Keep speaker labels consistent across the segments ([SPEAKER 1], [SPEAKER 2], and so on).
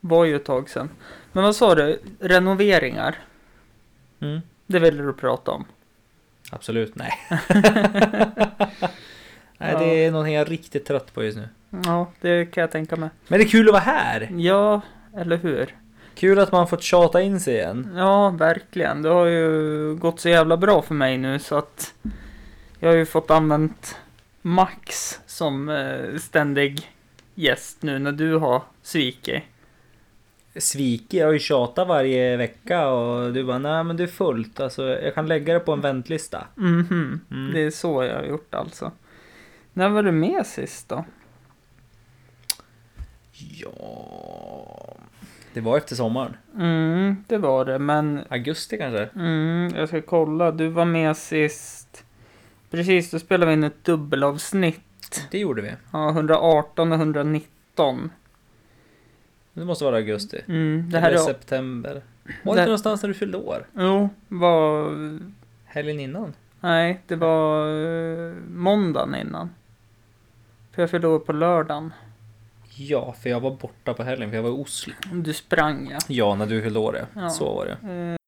[SPEAKER 1] var ju ett tag sedan. Men vad sa du? Renoveringar?
[SPEAKER 2] Mm.
[SPEAKER 1] Det ville du prata om?
[SPEAKER 2] Absolut, nej. nej, det är någonting jag är riktigt trött på just nu.
[SPEAKER 1] Ja, det kan jag tänka mig.
[SPEAKER 2] Men det är kul att vara här!
[SPEAKER 1] Ja, eller hur?
[SPEAKER 2] Kul att man fått tjata in sig igen.
[SPEAKER 1] Ja, verkligen. Det har ju gått så jävla bra för mig nu så att jag har ju fått använt Max som eh, ständig gäst nu när du har svikit.
[SPEAKER 2] Sviki, jag har ju tjatat varje vecka och du bara nej men det är fullt. Alltså jag kan lägga det på en väntlista.
[SPEAKER 1] Mhm,
[SPEAKER 2] Mm.
[SPEAKER 1] det är så jag har gjort alltså. När var du med sist då?
[SPEAKER 2] Ja... Det var efter sommaren.
[SPEAKER 1] Mm, det var det, men
[SPEAKER 2] Augusti kanske?
[SPEAKER 1] Mm, jag ska kolla. Du var med sist. Precis, då spelade vi in ett dubbelavsnitt.
[SPEAKER 2] Det gjorde vi.
[SPEAKER 1] Ja, 118 och 119.
[SPEAKER 2] Det måste vara augusti.
[SPEAKER 1] Mm, det
[SPEAKER 2] Det
[SPEAKER 1] här
[SPEAKER 2] Eller
[SPEAKER 1] är...
[SPEAKER 2] september.
[SPEAKER 1] Det-
[SPEAKER 2] Var det inte någonstans när du fyllde år?
[SPEAKER 1] Jo, var...
[SPEAKER 2] Helgen innan?
[SPEAKER 1] Nej, det var eh, måndagen innan. För jag fyllde år på lördagen.
[SPEAKER 2] Ja, för jag var borta på helgen för jag var i Oslo.
[SPEAKER 1] Du sprang ja.
[SPEAKER 2] Ja, när du fyllde år ja.
[SPEAKER 1] Ja.
[SPEAKER 2] Så var det.
[SPEAKER 1] Eh,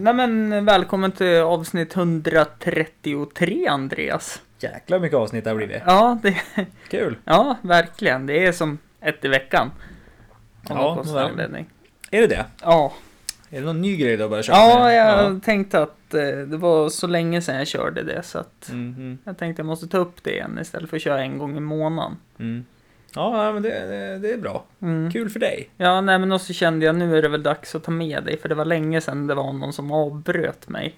[SPEAKER 1] Nej men välkommen till avsnitt 133 Andreas.
[SPEAKER 2] Jäklar mycket avsnitt det har blivit.
[SPEAKER 1] Ja, det,
[SPEAKER 2] Kul!
[SPEAKER 1] ja verkligen. Det är som ett i veckan. Av
[SPEAKER 2] Ja,
[SPEAKER 1] någon konstig
[SPEAKER 2] verkligen.
[SPEAKER 1] anledning.
[SPEAKER 2] Är det det?
[SPEAKER 1] Ja,
[SPEAKER 2] Är det någon ny grej du har börjat köra
[SPEAKER 1] Ja,
[SPEAKER 2] med?
[SPEAKER 1] jag tänkte att eh, det var så länge sedan jag körde det så att
[SPEAKER 2] Mhm,
[SPEAKER 1] jag tänkte jag måste ta upp det igen istället för att köra en gång i månaden.
[SPEAKER 2] mm. Ja, men det, det, det är bra.
[SPEAKER 1] Mm.
[SPEAKER 2] Kul för dig.
[SPEAKER 1] Ja, nej men också kände jag nu är det väl dags att ta med dig för det var länge sedan det var någon som avbröt mig.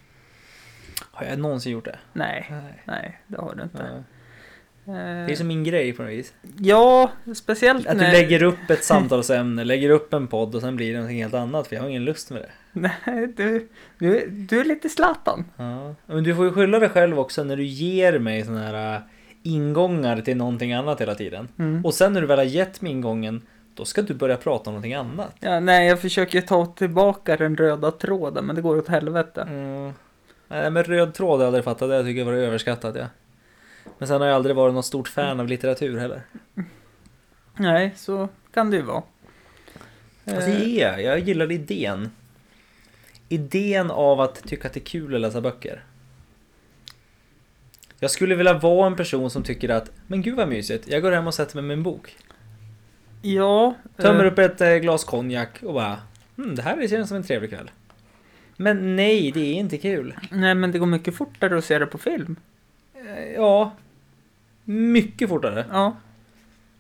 [SPEAKER 2] Har jag någonsin gjort det?
[SPEAKER 1] Nej,
[SPEAKER 2] Nej.
[SPEAKER 1] nej det har du inte.
[SPEAKER 2] Ja.
[SPEAKER 1] Eh,
[SPEAKER 2] Det är som min grej på något vis.
[SPEAKER 1] Ja, speciellt
[SPEAKER 2] Att du
[SPEAKER 1] när...
[SPEAKER 2] lägger upp ett samtalsämne, lägger upp en podd och sen blir det någonting helt annat för jag har ingen lust med det.
[SPEAKER 1] Nej, du, du, du är lite Zlatan.
[SPEAKER 2] Ja. Men du får ju skylla dig själv också när du ger mig sådana här äh, ingångar till någonting annat hela tiden.
[SPEAKER 1] Mm.
[SPEAKER 2] Och sen när du väl har gett mig ingången, då ska du börja prata om någonting annat.
[SPEAKER 1] Ja, nej, jag försöker ta tillbaka den röda tråden men det går åt helvete.
[SPEAKER 2] Mm. Nej men röd tråd har jag aldrig fattat, det jag tycker jag var överskattat ja. Men sen har jag aldrig varit någon stort fan av litteratur heller.
[SPEAKER 1] Nej, så kan det ju vara.
[SPEAKER 2] Alltså
[SPEAKER 1] Eh,
[SPEAKER 2] det är jag, jag gillar idén. Idén av att tycka att det är kul att läsa böcker. Jag skulle vilja vara en person som tycker att, men gud vad mysigt, jag går hem och sätter mig med en bok.
[SPEAKER 1] Ja.
[SPEAKER 2] Tömmer
[SPEAKER 1] eh,
[SPEAKER 2] upp ett eh, glas konjak och bara, hmm, det här känns som en trevlig kväll. Men nej, det är inte kul.
[SPEAKER 1] Nej, men det går mycket fortare att se det på film.
[SPEAKER 2] Eh, Ja, mycket fortare.
[SPEAKER 1] Ja.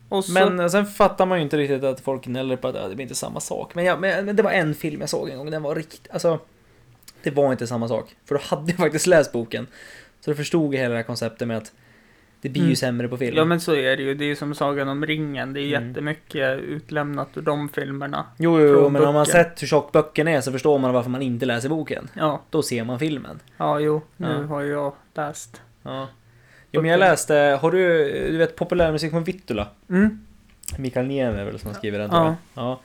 [SPEAKER 1] Och så, men...
[SPEAKER 2] Men eh, sen fattar man ju inte riktigt att folk gnäller på att "Ja, det blir inte samma sak. Men, ja, men men det var en film jag såg en gång, den var riktigt, alltså. Det var inte samma sak. För då hade jag faktiskt läst boken. Så då förstod jag hela det här konceptet med att det blir ju
[SPEAKER 1] Mm.
[SPEAKER 2] sämre på film.
[SPEAKER 1] Ja, men så är det ju. Det är ju som Sagan om ringen. Det är
[SPEAKER 2] Mm.
[SPEAKER 1] jättemycket utlämnat ur de filmerna.
[SPEAKER 2] jo, jo, jo,
[SPEAKER 1] från
[SPEAKER 2] men om man
[SPEAKER 1] boken.
[SPEAKER 2] sett hur tjock böckerna är så förstår man varför man inte läser boken.
[SPEAKER 1] Ja,
[SPEAKER 2] Då ser man filmen.
[SPEAKER 1] ja, jo. Nu
[SPEAKER 2] Ja.
[SPEAKER 1] har jag läst.
[SPEAKER 2] Ja. Jo, men jag läste, har du, du vet populärmusik från Vittula?
[SPEAKER 1] Mm.
[SPEAKER 2] Mikael Niemi är väl som skriver den
[SPEAKER 1] Ja.
[SPEAKER 2] tror jag.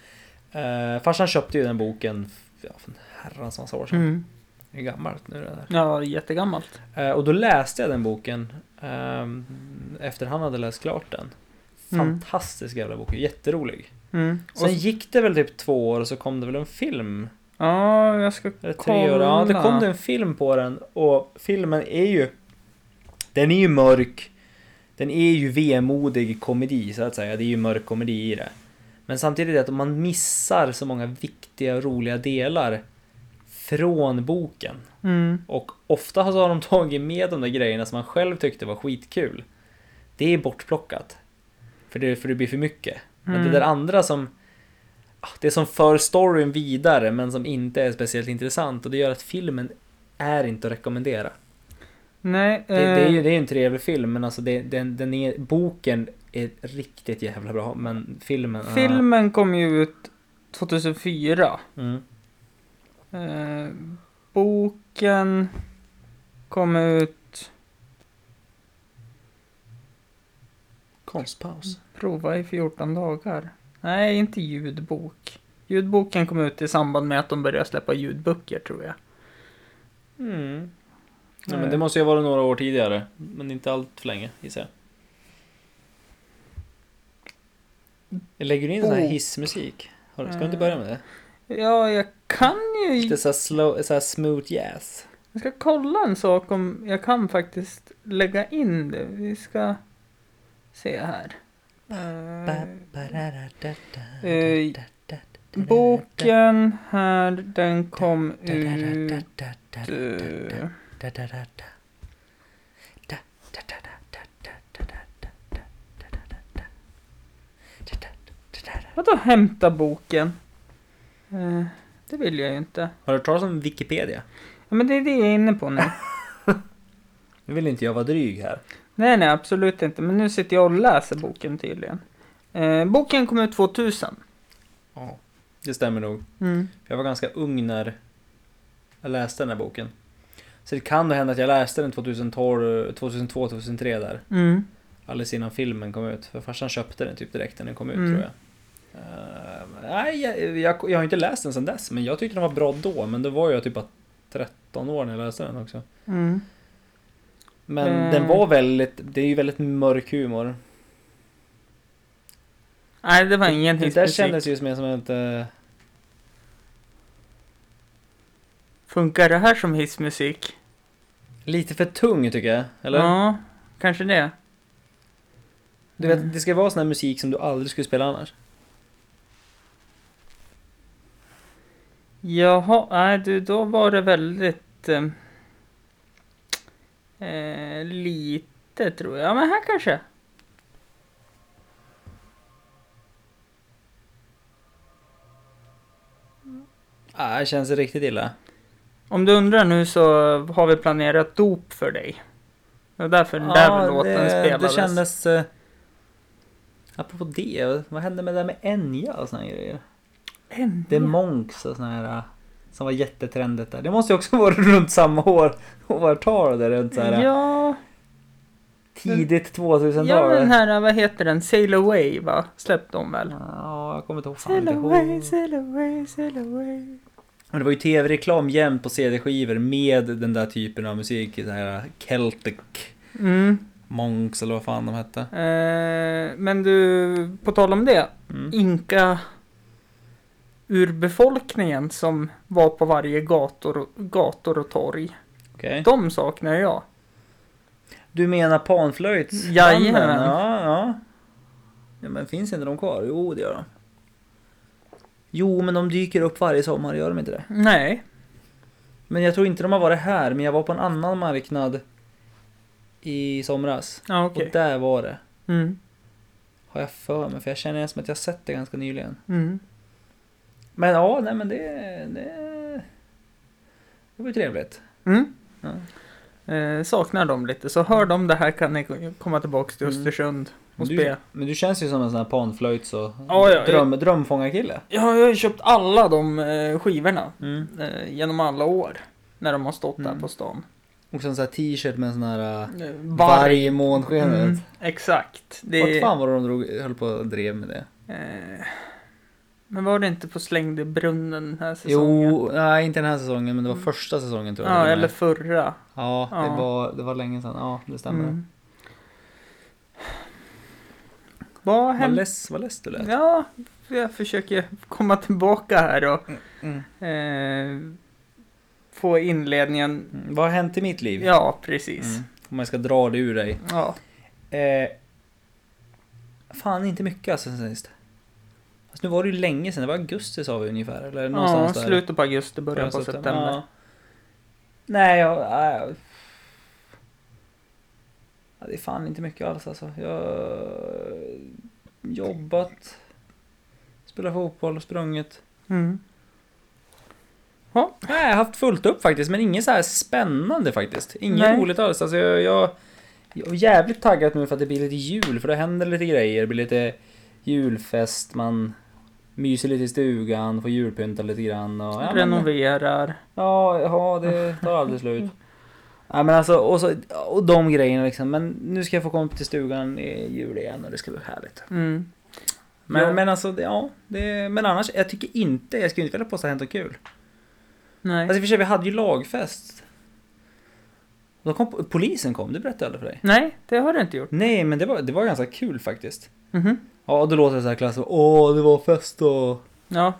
[SPEAKER 2] Ja. Eh, farsan köpte ju den boken ja, för en herrans massa år sedan.
[SPEAKER 1] Mm.
[SPEAKER 2] Det är gammalt nu det där.
[SPEAKER 1] Ja, jättegammalt.
[SPEAKER 2] Eh, Och då läste jag den boken ehm, efter han hade läst klart den.
[SPEAKER 1] Mm.
[SPEAKER 2] Fantastisk jävla bok, jätterolig.
[SPEAKER 1] Mm. Och
[SPEAKER 2] Sen
[SPEAKER 1] så-
[SPEAKER 2] gick det väl typ två år och så kom det väl en film.
[SPEAKER 1] ja, jag ska
[SPEAKER 2] Eller tre
[SPEAKER 1] kolla.
[SPEAKER 2] år. Ja, det kom det en film på den och filmen är ju... Den är ju mörk. Den är ju vemodig komedi så att säga. Det är ju mörk komedi i det. Men samtidigt är det att om man missar så många viktiga och roliga delar från boken.
[SPEAKER 1] Mm.
[SPEAKER 2] Och ofta så har de tagit med de där grejerna som man själv tyckte var skitkul. Det är bortplockat. För det, för det blir för mycket. Men
[SPEAKER 1] Mm.
[SPEAKER 2] det där andra som... ah, Det som för storyn vidare men som inte är speciellt intressant och det gör att filmen är inte att rekommendera.
[SPEAKER 1] Nej,
[SPEAKER 2] Det, det är
[SPEAKER 1] eh,
[SPEAKER 2] ju det är ju en trevlig film men alltså det, den, den är, boken är riktigt jävla bra men filmen... ah.
[SPEAKER 1] filmen kom ju ut 2004.
[SPEAKER 2] Mm.
[SPEAKER 1] Eh, boken kom ut...
[SPEAKER 2] Konstpaus.
[SPEAKER 1] Prova i 14 dagar. Nej, inte ljudbok. Ljudboken kom ut i samband med att de började släppa ljudböcker tror jag.
[SPEAKER 2] Mm. Ja,
[SPEAKER 1] Eh.
[SPEAKER 2] men det måste ju ha varit några år tidigare. Men inte allt för länge gissar jag. Jag lägger in sån här
[SPEAKER 1] Oh.
[SPEAKER 2] hissmusik. Har du- Ska du
[SPEAKER 1] Eh.
[SPEAKER 2] inte börja med det?
[SPEAKER 1] Ja, jag kan ju...
[SPEAKER 2] Lite såhär slow, såhär smooth jazz.
[SPEAKER 1] Jag ska kolla en sak om jag kan faktiskt lägga in det. Vi ska se här. Eh, eh, boken här, den kom ut... eh, Vadå hämta boken? Eh, det vill jag ju inte.
[SPEAKER 2] Har du hört talas om Wikipedia?
[SPEAKER 1] Ja, men det är det jag är inne på nu.
[SPEAKER 2] Nu vill inte jag vara dryg här.
[SPEAKER 1] Nej, nej, absolut inte. Men nu sitter jag och läser boken tydligen. Eh, boken kom ut 2000.
[SPEAKER 2] Ja. Det stämmer nog. Jag var ganska ung när jag läste den här boken. Så det kan nog hända att jag läste den 2012, 2002, 2003 där.
[SPEAKER 1] Mm.
[SPEAKER 2] Alldeles innan filmen kom ut. För farsan köpte den typ direkt när den kom ut
[SPEAKER 1] Mm.
[SPEAKER 2] tror jag. Eh, nej, jag, jag, jag har inte läst den sedan dess. Men jag tyckte den var bra då. Men då var jag typ bara 13 år när jag läste den också.
[SPEAKER 1] Mm.
[SPEAKER 2] Men
[SPEAKER 1] Mm.
[SPEAKER 2] den var väldigt, det är ju väldigt mörk humor.
[SPEAKER 1] Nej, det var ingen
[SPEAKER 2] Det där
[SPEAKER 1] hissmusik.
[SPEAKER 2] kändes ju mer som ett... eh,
[SPEAKER 1] Funkar det här som hissmusik?
[SPEAKER 2] lite för tung tycker jag. Eller?
[SPEAKER 1] Ja, kanske det.
[SPEAKER 2] Du
[SPEAKER 1] Mm.
[SPEAKER 2] vet, det ska vara sån här musik som du aldrig skulle spela annars.
[SPEAKER 1] Jaha, nej du, då var det väldigt... eh, Eh, lite tror jag. Ja, men här kanske.
[SPEAKER 2] Ah, det känns riktigt illa.
[SPEAKER 1] Om du undrar nu så har vi planerat dop för dig. Det var därför den
[SPEAKER 2] Ja,
[SPEAKER 1] där låten
[SPEAKER 2] det,
[SPEAKER 1] spelades.
[SPEAKER 2] Det kändes... eh, apropå det, vad hände med det där med Enya och såna här grejer?
[SPEAKER 1] En-
[SPEAKER 2] The Monks och såna här... eh, Som var jättetrendigt där. Det måste ju också vara runt samma år. Årtal där runt så här. eh,
[SPEAKER 1] Ja,
[SPEAKER 2] Tidigt 2000-tal.
[SPEAKER 1] ja men den här, vad heter den? Sail Away va? Släppte de väl?
[SPEAKER 2] Ja, jag kommer inte ihåg. Fan,
[SPEAKER 1] Sail
[SPEAKER 2] inte
[SPEAKER 1] away,
[SPEAKER 2] ihåg.
[SPEAKER 1] sail away, sail away.
[SPEAKER 2] Men det var ju tv-reklam jämt på CD-skivor med den där typen av musik. Så här eh, Celtic
[SPEAKER 1] Mm.
[SPEAKER 2] Monks eller vad fan de hette.
[SPEAKER 1] Eh, men du, på tal om det.
[SPEAKER 2] Mm.
[SPEAKER 1] Inka urbefolkningen som var på varje gator och, gator och torg.
[SPEAKER 2] Okej.
[SPEAKER 1] De saknar jag.
[SPEAKER 2] Du menar panflöjts?
[SPEAKER 1] Jajamän.
[SPEAKER 2] Ja, ja. ja. Men finns inte de kvar? Jo, det gör de. Jo, men de dyker upp varje sommar, gör de inte det?
[SPEAKER 1] Nej.
[SPEAKER 2] Men jag tror inte de har varit här, men jag var på en annan marknad i somras.
[SPEAKER 1] Ja, okej.
[SPEAKER 2] Och där var det.
[SPEAKER 1] Mm,
[SPEAKER 2] Har jag för mig, för jag känner som att jag sett det ganska nyligen.
[SPEAKER 1] mm.
[SPEAKER 2] Men ja, nej men det... Det, det var ju trevligt.
[SPEAKER 1] Mm.
[SPEAKER 2] Ja.
[SPEAKER 1] Eh, saknar dem lite, så hör de det här kan ni ko- komma tillbaks till
[SPEAKER 2] Mm.
[SPEAKER 1] Östersund och
[SPEAKER 2] Du,
[SPEAKER 1] spela.
[SPEAKER 2] men du känns ju som en sån här panflöjts och
[SPEAKER 1] Ja, ja,
[SPEAKER 2] dröm, drömfångarkille.
[SPEAKER 1] Ja, jag har ju köpt alla de eh, skivorna
[SPEAKER 2] Mm.
[SPEAKER 1] eh, genom alla år. När de har stått där
[SPEAKER 2] Mm.
[SPEAKER 1] på stan.
[SPEAKER 2] Och sen sån här t-shirt med en sån här... Uh,
[SPEAKER 1] Eh,
[SPEAKER 2] varg i månskenet.
[SPEAKER 1] Mm, exakt.
[SPEAKER 2] Vart
[SPEAKER 1] Det,
[SPEAKER 2] fan var det de drog, höll på och drev med det?
[SPEAKER 1] eh, men var det inte på Slängd i brunnen den här säsongen? Mm.
[SPEAKER 2] Jo, nej inte den här säsongen men det var första säsongen tror jag.
[SPEAKER 1] Ja,
[SPEAKER 2] det var
[SPEAKER 1] eller
[SPEAKER 2] med.
[SPEAKER 1] förra.
[SPEAKER 2] ja, det,
[SPEAKER 1] ja.
[SPEAKER 2] Var, det var länge sedan. Ja, det stämmer.
[SPEAKER 1] Mm. Vad
[SPEAKER 2] Vad,
[SPEAKER 1] hände?
[SPEAKER 2] less, vad less du lät.
[SPEAKER 1] Ja, jag försöker komma tillbaka här och
[SPEAKER 2] Mm.
[SPEAKER 1] eh, få inledningen.
[SPEAKER 2] Mm, Vad har hänt i mitt liv?
[SPEAKER 1] Ja, precis.
[SPEAKER 2] Mm. Om jag ska dra det ur dig.
[SPEAKER 1] Ja.
[SPEAKER 2] Eh, fan, inte mycket alltså sen sist. Fast nu var det ju länge sedan, det var augusti sa vi ungefär. Eller
[SPEAKER 1] ja,
[SPEAKER 2] någonstans där.
[SPEAKER 1] slutet på augusti, början på
[SPEAKER 2] Förra
[SPEAKER 1] september.
[SPEAKER 2] Ja. Nej, jag... jag- Ja, det är fan inte mycket alls alltså. Jag har jobbat, spelat fotboll, sprungit.
[SPEAKER 1] Mm.
[SPEAKER 2] Nej, jag har haft fullt upp faktiskt, men inget så här spännande faktiskt. Inget
[SPEAKER 1] Nej.
[SPEAKER 2] roligt alls. Alltså, jag, jag, jag är jävligt taggad nu för att det blir lite jul, för det händer lite grejer. Det blir lite julfest, man myser lite i stugan, får julpynta lite grann. Och, ja, men-
[SPEAKER 1] Renoverar. Mm.
[SPEAKER 2] Ja, ja, det tar aldrig slut. Ja, men alltså, och, så, och de grejerna liksom. Men nu ska jag få komma upp till stugan i jul igen och det ska bli härligt.
[SPEAKER 1] Mm.
[SPEAKER 2] Men,
[SPEAKER 1] Ja.
[SPEAKER 2] men alltså, det, ja. Det, men annars, jag tycker inte, jag skulle inte vilja påstå att det har hänt något kul.
[SPEAKER 1] Nej.
[SPEAKER 2] Alltså i och för sig, vi hade ju lagfest. Då kom, polisen kom, det berättade jag aldrig för dig.
[SPEAKER 1] Nej, det har du inte gjort.
[SPEAKER 2] Nej, men det var, det var ganska kul faktiskt.
[SPEAKER 1] Mhm.
[SPEAKER 2] Ja, då låter det så här klassiskt. Åh, det var fest och
[SPEAKER 1] Ja.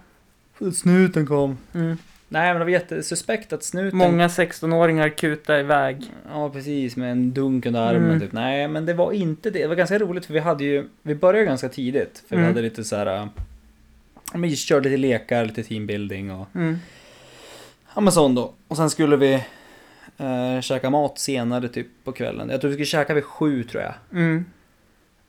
[SPEAKER 2] snuten kom.
[SPEAKER 1] Mm.
[SPEAKER 2] Nej, men det var jättesuspekt att snuten...
[SPEAKER 1] Många 16-åringar kutar iväg.
[SPEAKER 2] Ja, precis. Med en dunk under armen
[SPEAKER 1] Mm.
[SPEAKER 2] typ. Nej, men det var inte det. Det var ganska roligt för vi hade ju... Vi började ganska tidigt. För
[SPEAKER 1] Mm.
[SPEAKER 2] vi hade lite så här... äh, ja, men Vi körde lite lekar, lite teambuilding och...
[SPEAKER 1] Mm.
[SPEAKER 2] Ja, men sån då. Och sen skulle vi... Eh, käka mat senare typ på kvällen. Jag tror vi skulle käka vid sju tror jag.
[SPEAKER 1] Mm.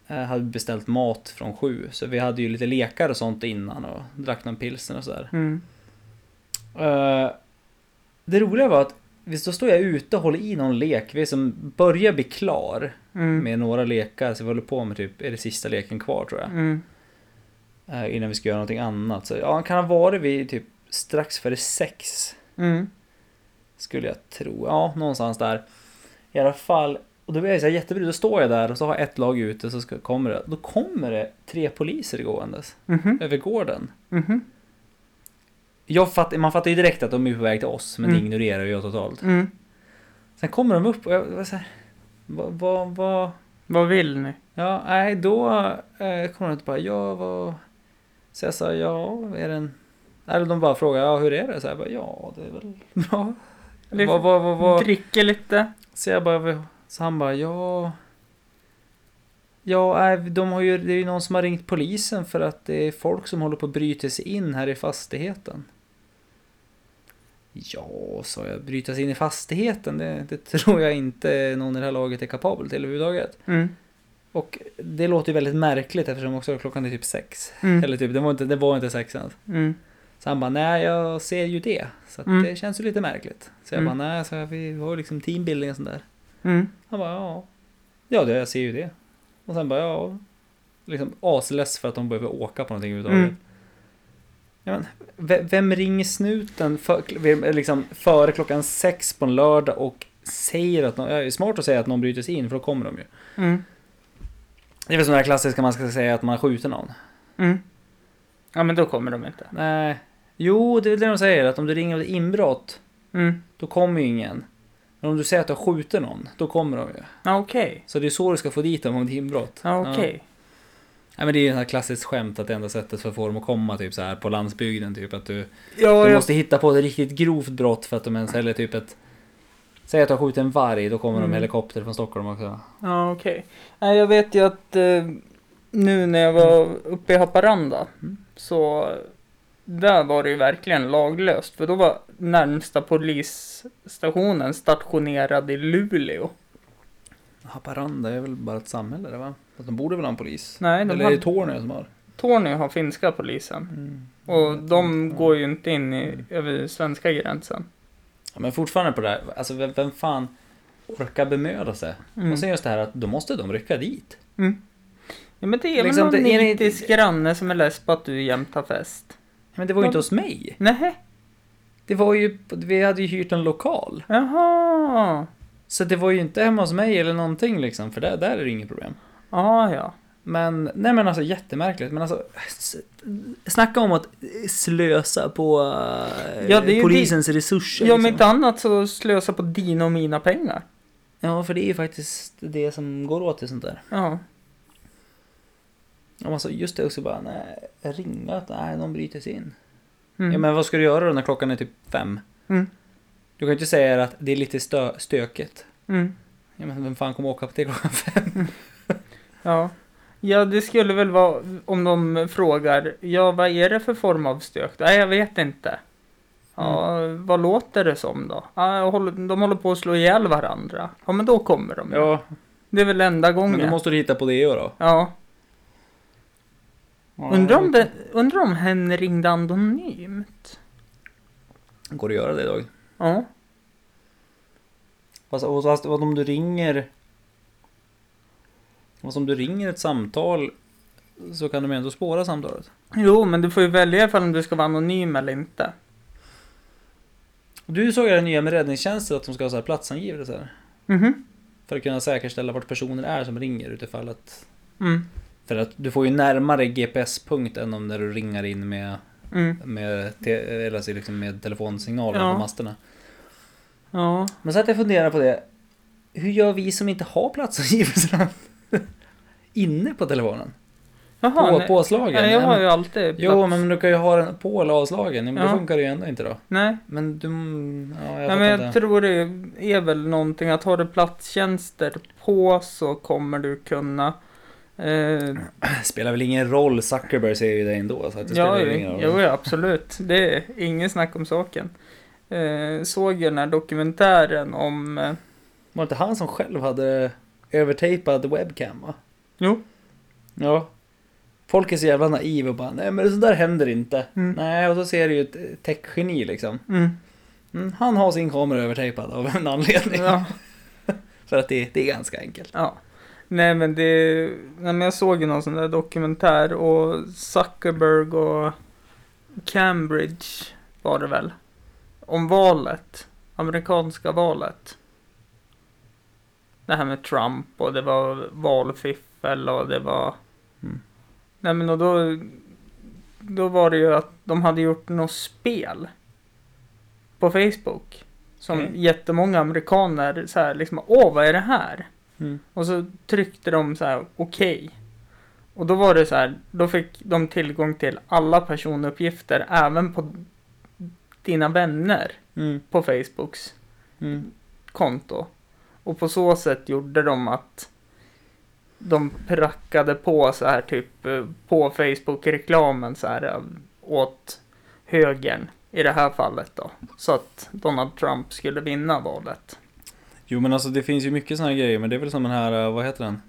[SPEAKER 2] Eh, hade beställt mat från sju. Så vi hade ju lite lekar och sånt innan och drack någon pilsner och sådär.
[SPEAKER 1] Mm.
[SPEAKER 2] Eh, det roliga var att visst, då står jag ute och håller i någon lek. Vi som börjar bli klar
[SPEAKER 1] Mm.
[SPEAKER 2] med några lekar. Så vi håller på med typ, är det sista leken kvar tror jag.
[SPEAKER 1] Mm.
[SPEAKER 2] Eh, innan vi ska göra någonting annat. Så ja, han kan ha varit vid typ strax före sex.
[SPEAKER 1] Mm.
[SPEAKER 2] Skulle jag tro. Ja, någonstans där. I alla fall. Och då blir jag så här jättebrydd. Då står jag där och så har jag ett lag ute. Så ska, kommer det. Då kommer det tre poliser gåendes.
[SPEAKER 1] Mhm.
[SPEAKER 2] Över gården.
[SPEAKER 1] Mhm.
[SPEAKER 2] Jag fatt, man fattar ju direkt att de är på väg till oss. Men
[SPEAKER 1] Mm.
[SPEAKER 2] det ignorerar jag totalt.
[SPEAKER 1] Mm.
[SPEAKER 2] Sen kommer de upp och jag var så här. Vad, vad, vad?
[SPEAKER 1] Vad vill ni?
[SPEAKER 2] Ja, nej då eh, kommer de inte bara. Ja, vad? Så jag sa ja, är den? Eller de bara frågar ja, hur är det? Så jag bara ja, det är väl bra.
[SPEAKER 1] Det-
[SPEAKER 2] Vad, vad, vad, vad?
[SPEAKER 1] Dricker lite.
[SPEAKER 2] Så jag bara, så han bara ja. Ja, nej, de har ju, det är ju någon som har ringt polisen för att det är folk som håller på att bryta sig in här i fastigheten. Ja, sa jag, bryta sig in i fastigheten, det, det tror jag inte någon i det här laget är kapabel till överhuvudtaget.
[SPEAKER 1] Mm.
[SPEAKER 2] Och det låter ju väldigt märkligt eftersom också klockan är typ sex.
[SPEAKER 1] Mm.
[SPEAKER 2] Eller typ, det var inte, det var inte sex ens.
[SPEAKER 1] Mm.
[SPEAKER 2] Så han bara, nej jag ser ju det. Så att
[SPEAKER 1] Mm.
[SPEAKER 2] det känns ju lite märkligt. Så jag
[SPEAKER 1] Mm.
[SPEAKER 2] bara, nej, så jag, vi har ju liksom teambuilding och sånt där.
[SPEAKER 1] Mm.
[SPEAKER 2] Han bara, ja. Ja, det, jag ser ju det. Och sen bara, ja. Liksom asless för att de behöver åka på någonting överhuvudtaget.
[SPEAKER 1] Mm.
[SPEAKER 2] Ja, men, ve- vem ringer snuten för, vem- liksom, före klockan sex på en lördag och säger att någon, ja, det är smart att säga att någon bryter sig in för då kommer de ju.
[SPEAKER 1] Mm.
[SPEAKER 2] Det är väl sådana här klassiska man ska säga att man skjuter någon.
[SPEAKER 1] Mm. Ja, men då kommer de inte.
[SPEAKER 2] Nej. Jo, det är väl det de säger att om du ringer om det är inbrott
[SPEAKER 1] Mm.
[SPEAKER 2] då kommer ju ingen. Men om du säger att du har skjutit någon då kommer de ju.
[SPEAKER 1] Ja, okej.
[SPEAKER 2] Så det är så du ska få dit dem om det är inbrott.
[SPEAKER 1] Ja, okej.
[SPEAKER 2] Ja men det är ju ett sånt här klassiskt skämt att det enda sättet för att få dem att komma typ så här på landsbygden typ att du,
[SPEAKER 1] Ja,
[SPEAKER 2] du
[SPEAKER 1] jag-
[SPEAKER 2] måste hitta på ett riktigt grovt brott för att de ens eller typ ett Säg att du har skjutit en varg, då kommer de
[SPEAKER 1] Mm.
[SPEAKER 2] med helikopter från Stockholm också.
[SPEAKER 1] Ja, okej. Nej, jag vet ju att eh, nu när jag var uppe i Haparanda
[SPEAKER 2] Mm.
[SPEAKER 1] så eh, där var det ju verkligen laglöst för då var närmsta polisstationen stationerad i Luleå.
[SPEAKER 2] Haparanda är väl bara ett samhälle det va? Fast de borde väl ha en polis?
[SPEAKER 1] Nej, de
[SPEAKER 2] eller är
[SPEAKER 1] hade-
[SPEAKER 2] det Tornio som har?
[SPEAKER 1] Tornio har finska polisen och
[SPEAKER 2] Mm.
[SPEAKER 1] de går ju inte in i, över svenska gränsen.
[SPEAKER 2] Ja, men fortfarande på det här, alltså vem, vem fan orkar bemöda sig?
[SPEAKER 1] Mm.
[SPEAKER 2] Och sen just det här att då måste de rycka dit.
[SPEAKER 1] Ja, men det är
[SPEAKER 2] Liksom,
[SPEAKER 1] väl någon
[SPEAKER 2] det är en-
[SPEAKER 1] nitisk granne som är less på att du jämt har fest.
[SPEAKER 2] Men det var ju
[SPEAKER 1] Men-
[SPEAKER 2] inte hos mig.
[SPEAKER 1] Nej,
[SPEAKER 2] Det var ju, vi hade ju hyrt en lokal.
[SPEAKER 1] jaha.
[SPEAKER 2] Så det var ju inte hemma hos mig eller någonting liksom, för där, där är det inget problem.
[SPEAKER 1] Ah, ja,
[SPEAKER 2] Men, nej men alltså jättemärkligt, men alltså s- Snacka om att slösa på eh,
[SPEAKER 1] Ja, det är ju
[SPEAKER 2] polisens resurser.
[SPEAKER 1] ja. Om
[SPEAKER 2] liksom.
[SPEAKER 1] inte annat så slösa på dina och mina pengar.
[SPEAKER 2] ja, för det är ju faktiskt det som går åt i sånt där.
[SPEAKER 1] Ja.
[SPEAKER 2] Ja, men Alltså, just det också bara, nej, ringa att nej, de bryter sig in.
[SPEAKER 1] Mm.
[SPEAKER 2] Ja, men vad ska du göra då när klockan är typ fem?
[SPEAKER 1] Mm.
[SPEAKER 2] Du kan ju inte säga att det är lite stö- stökigt.
[SPEAKER 1] Mm.
[SPEAKER 2] Ja, men vem fan kommer åka på det klockan fem?
[SPEAKER 1] Ja. ja, det skulle väl vara om de frågar, ja vad är det för form av stök? Nej, jag vet inte. Ja,
[SPEAKER 2] Mm.
[SPEAKER 1] vad låter det som då? Ja, jag håller- de håller på att slå ihjäl varandra. Ja, men då kommer de. ju. Det är väl enda
[SPEAKER 2] men
[SPEAKER 1] gången.
[SPEAKER 2] då måste du hitta på det då.
[SPEAKER 1] Ja.
[SPEAKER 2] Ja,
[SPEAKER 1] Undrar om, det, undrar om hen ringde anonymt?
[SPEAKER 2] Går det att göra det idag?
[SPEAKER 1] Ja.
[SPEAKER 2] Fast, och, fast vad om du ringer... Fast om du ringer ett samtal så kan de ändå spåra samtalet.
[SPEAKER 1] Jo, men du får ju välja ifall om du ska vara anonym eller inte.
[SPEAKER 2] Du såg ju det nya med räddningstjänsten att de ska ha så här platsangivelser.
[SPEAKER 1] Mhm.
[SPEAKER 2] För att kunna säkerställa vart personen är som ringer utifall att...
[SPEAKER 1] Mm.
[SPEAKER 2] För att du får ju närmare GPS-punkt än om när du ringar in med,
[SPEAKER 1] Mm.
[SPEAKER 2] med, te, eller alltså liksom med telefonsignalen
[SPEAKER 1] Ja.
[SPEAKER 2] på masterna.
[SPEAKER 1] Ja.
[SPEAKER 2] Men så att jag funderar på det. Hur gör vi som inte har platsangivelserna? Inne på telefonen?
[SPEAKER 1] Jaha.
[SPEAKER 2] På,
[SPEAKER 1] nej.
[SPEAKER 2] påslagen?
[SPEAKER 1] Nej,
[SPEAKER 2] Nej,
[SPEAKER 1] jag har
[SPEAKER 2] men-
[SPEAKER 1] ju alltid plats.
[SPEAKER 2] Jo, men du kan ju ha den på eller avslagen. Men
[SPEAKER 1] Ja.
[SPEAKER 2] Då funkar det ju ändå inte då.
[SPEAKER 1] Nej.
[SPEAKER 2] Men du... Ja,
[SPEAKER 1] Nej, men
[SPEAKER 2] jag fattar
[SPEAKER 1] jag
[SPEAKER 2] inte.
[SPEAKER 1] tror det är väl någonting att har du platstjänster på så kommer du kunna... Eh,
[SPEAKER 2] spelar väl ingen roll. Zuckerberg ser ju det ändå. Så att det
[SPEAKER 1] ja,
[SPEAKER 2] spelar
[SPEAKER 1] jo,
[SPEAKER 2] väl ingen roll.
[SPEAKER 1] jo, ja, absolut. Det är ingen snack om saken. Eh, såg ju den här dokumentären om... Eh,
[SPEAKER 2] Var det inte han som själv hade övertejpad webcam va?
[SPEAKER 1] jo.
[SPEAKER 2] Ja. Folk är så jävla naiva och bara nej men så där händer inte.
[SPEAKER 1] Mm.
[SPEAKER 2] Nej och så ser du ju ett techgeni liksom.
[SPEAKER 1] Mm.
[SPEAKER 2] Mm, han har sin kamera övertejpad av en anledning.
[SPEAKER 1] mm, Ja.
[SPEAKER 2] För att det, det är ganska enkelt.
[SPEAKER 1] ja. Nej men det... Nej, men jag såg ju någon sån där dokumentär och Zuckerberg och Cambridge var det väl? Om valet. Amerikanska valet. Det här med Trump och det var valfiffel och det var...
[SPEAKER 2] Mm.
[SPEAKER 1] Nej men och då... Då var det ju att de hade gjort något spel. På Facebook. Som
[SPEAKER 2] Okej.
[SPEAKER 1] jättemånga amerikaner så här liksom, åh vad är det här?
[SPEAKER 2] Mm.
[SPEAKER 1] Och så tryckte de så här okej. Och då var det så här, då fick de tillgång till alla personuppgifter även på dina vänner
[SPEAKER 2] Mm.
[SPEAKER 1] på Facebooks
[SPEAKER 2] Mm.
[SPEAKER 1] konto. Och på så sätt gjorde de att de prackade på så här typ eh, på Facebook-reklamen så här eh, åt högern i det här fallet då. Så att Donald Trump skulle vinna valet.
[SPEAKER 2] Jo men alltså det finns ju mycket såna här grejer men det är väl som den här, eh, vad heter den?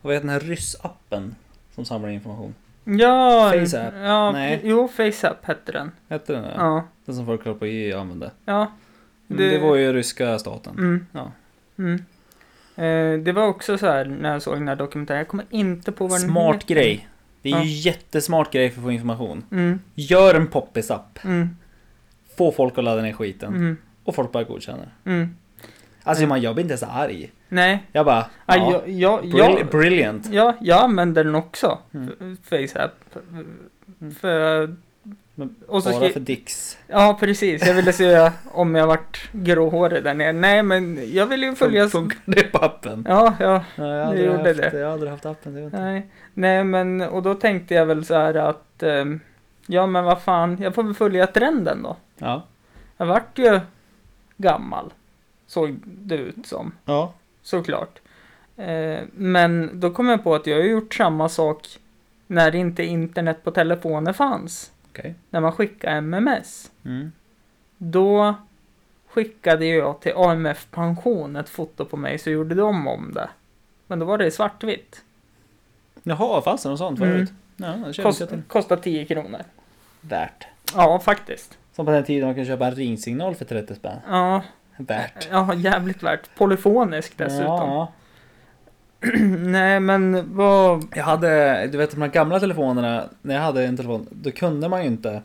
[SPEAKER 2] Vad heter den här ryssappen? Som samlar information.
[SPEAKER 1] Ja,
[SPEAKER 2] FaceApp?
[SPEAKER 1] Ja,
[SPEAKER 2] Nej.
[SPEAKER 1] Jo, FaceApp hette den.
[SPEAKER 2] Hette den det?
[SPEAKER 1] Ja.
[SPEAKER 2] Den som folk håller på i och använde.
[SPEAKER 1] Ja.
[SPEAKER 2] Men det var ju ryska staten.
[SPEAKER 1] Mm.
[SPEAKER 2] Ja.
[SPEAKER 1] Mm. Eh, det var också så här när jag såg den här dokumentären. Jag kommer inte på vad den
[SPEAKER 2] Smart
[SPEAKER 1] heter.
[SPEAKER 2] grej. Det är
[SPEAKER 1] Ja.
[SPEAKER 2] ju jättesmart grej för att få information.
[SPEAKER 1] Mm,
[SPEAKER 2] Gör en poppis-app.
[SPEAKER 1] mm,
[SPEAKER 2] Få folk att ladda ner skiten.
[SPEAKER 1] mm,
[SPEAKER 2] Och folk bara godkänner.
[SPEAKER 1] mm.
[SPEAKER 2] Alltså
[SPEAKER 1] Mm.
[SPEAKER 2] man, jag blir inte ens arg.
[SPEAKER 1] Nej.
[SPEAKER 2] Jag bara,
[SPEAKER 1] Ja,
[SPEAKER 2] ja,
[SPEAKER 1] jag, jag,
[SPEAKER 2] brill-
[SPEAKER 1] jag,
[SPEAKER 2] brilliant.
[SPEAKER 1] ja, jag använder den också.
[SPEAKER 2] Mm.
[SPEAKER 1] F- FaceApp.
[SPEAKER 2] Mm.
[SPEAKER 1] För...
[SPEAKER 2] Men
[SPEAKER 1] Och så
[SPEAKER 2] Bara
[SPEAKER 1] skri...
[SPEAKER 2] för dicks.
[SPEAKER 1] Ja, precis. Jag ville se om jag vart gråhårig där nere. Nej, men jag ville ju följa...
[SPEAKER 2] Funkar det på appen?
[SPEAKER 1] Ja, ja.
[SPEAKER 2] Nej,
[SPEAKER 1] det
[SPEAKER 2] jag aldrig
[SPEAKER 1] gjorde
[SPEAKER 2] haft,
[SPEAKER 1] det.
[SPEAKER 2] Jag har aldrig haft appen. Det vet jag.
[SPEAKER 1] Nej, nej men och då tänkte jag väl så här att ehm, ja men vad fan, jag får väl följa trenden då.
[SPEAKER 2] Ja.
[SPEAKER 1] Jag vart ju gammal, såg det ut som,
[SPEAKER 2] Ja.
[SPEAKER 1] såklart. Eh, men då kom jag på att jag har ju gjort samma sak när inte internet på telefoner fanns.
[SPEAKER 2] Okej.
[SPEAKER 1] När man skickade MMS.
[SPEAKER 2] Mm.
[SPEAKER 1] Då skickade ju jag till AMF Pension ett foto på mig så gjorde de om det. Men då var det i svartvitt.
[SPEAKER 2] Jaha, fanns det något sånt
[SPEAKER 1] Mm.
[SPEAKER 2] förut? Ja, det känner
[SPEAKER 1] Kost,
[SPEAKER 2] jag till.
[SPEAKER 1] kostade 10 kronor.
[SPEAKER 2] Värt.
[SPEAKER 1] Ja, faktiskt.
[SPEAKER 2] Som på den tiden man kunde köpa en ringsignal för 30 spänn.
[SPEAKER 1] Ja,
[SPEAKER 2] Värt.
[SPEAKER 1] ja jävligt värt. Polyfonisk dessutom.
[SPEAKER 2] Ja.
[SPEAKER 1] Nej, men vad...
[SPEAKER 2] Jag hade, du vet de här gamla telefonerna, när jag hade en telefon, då kunde man ju inte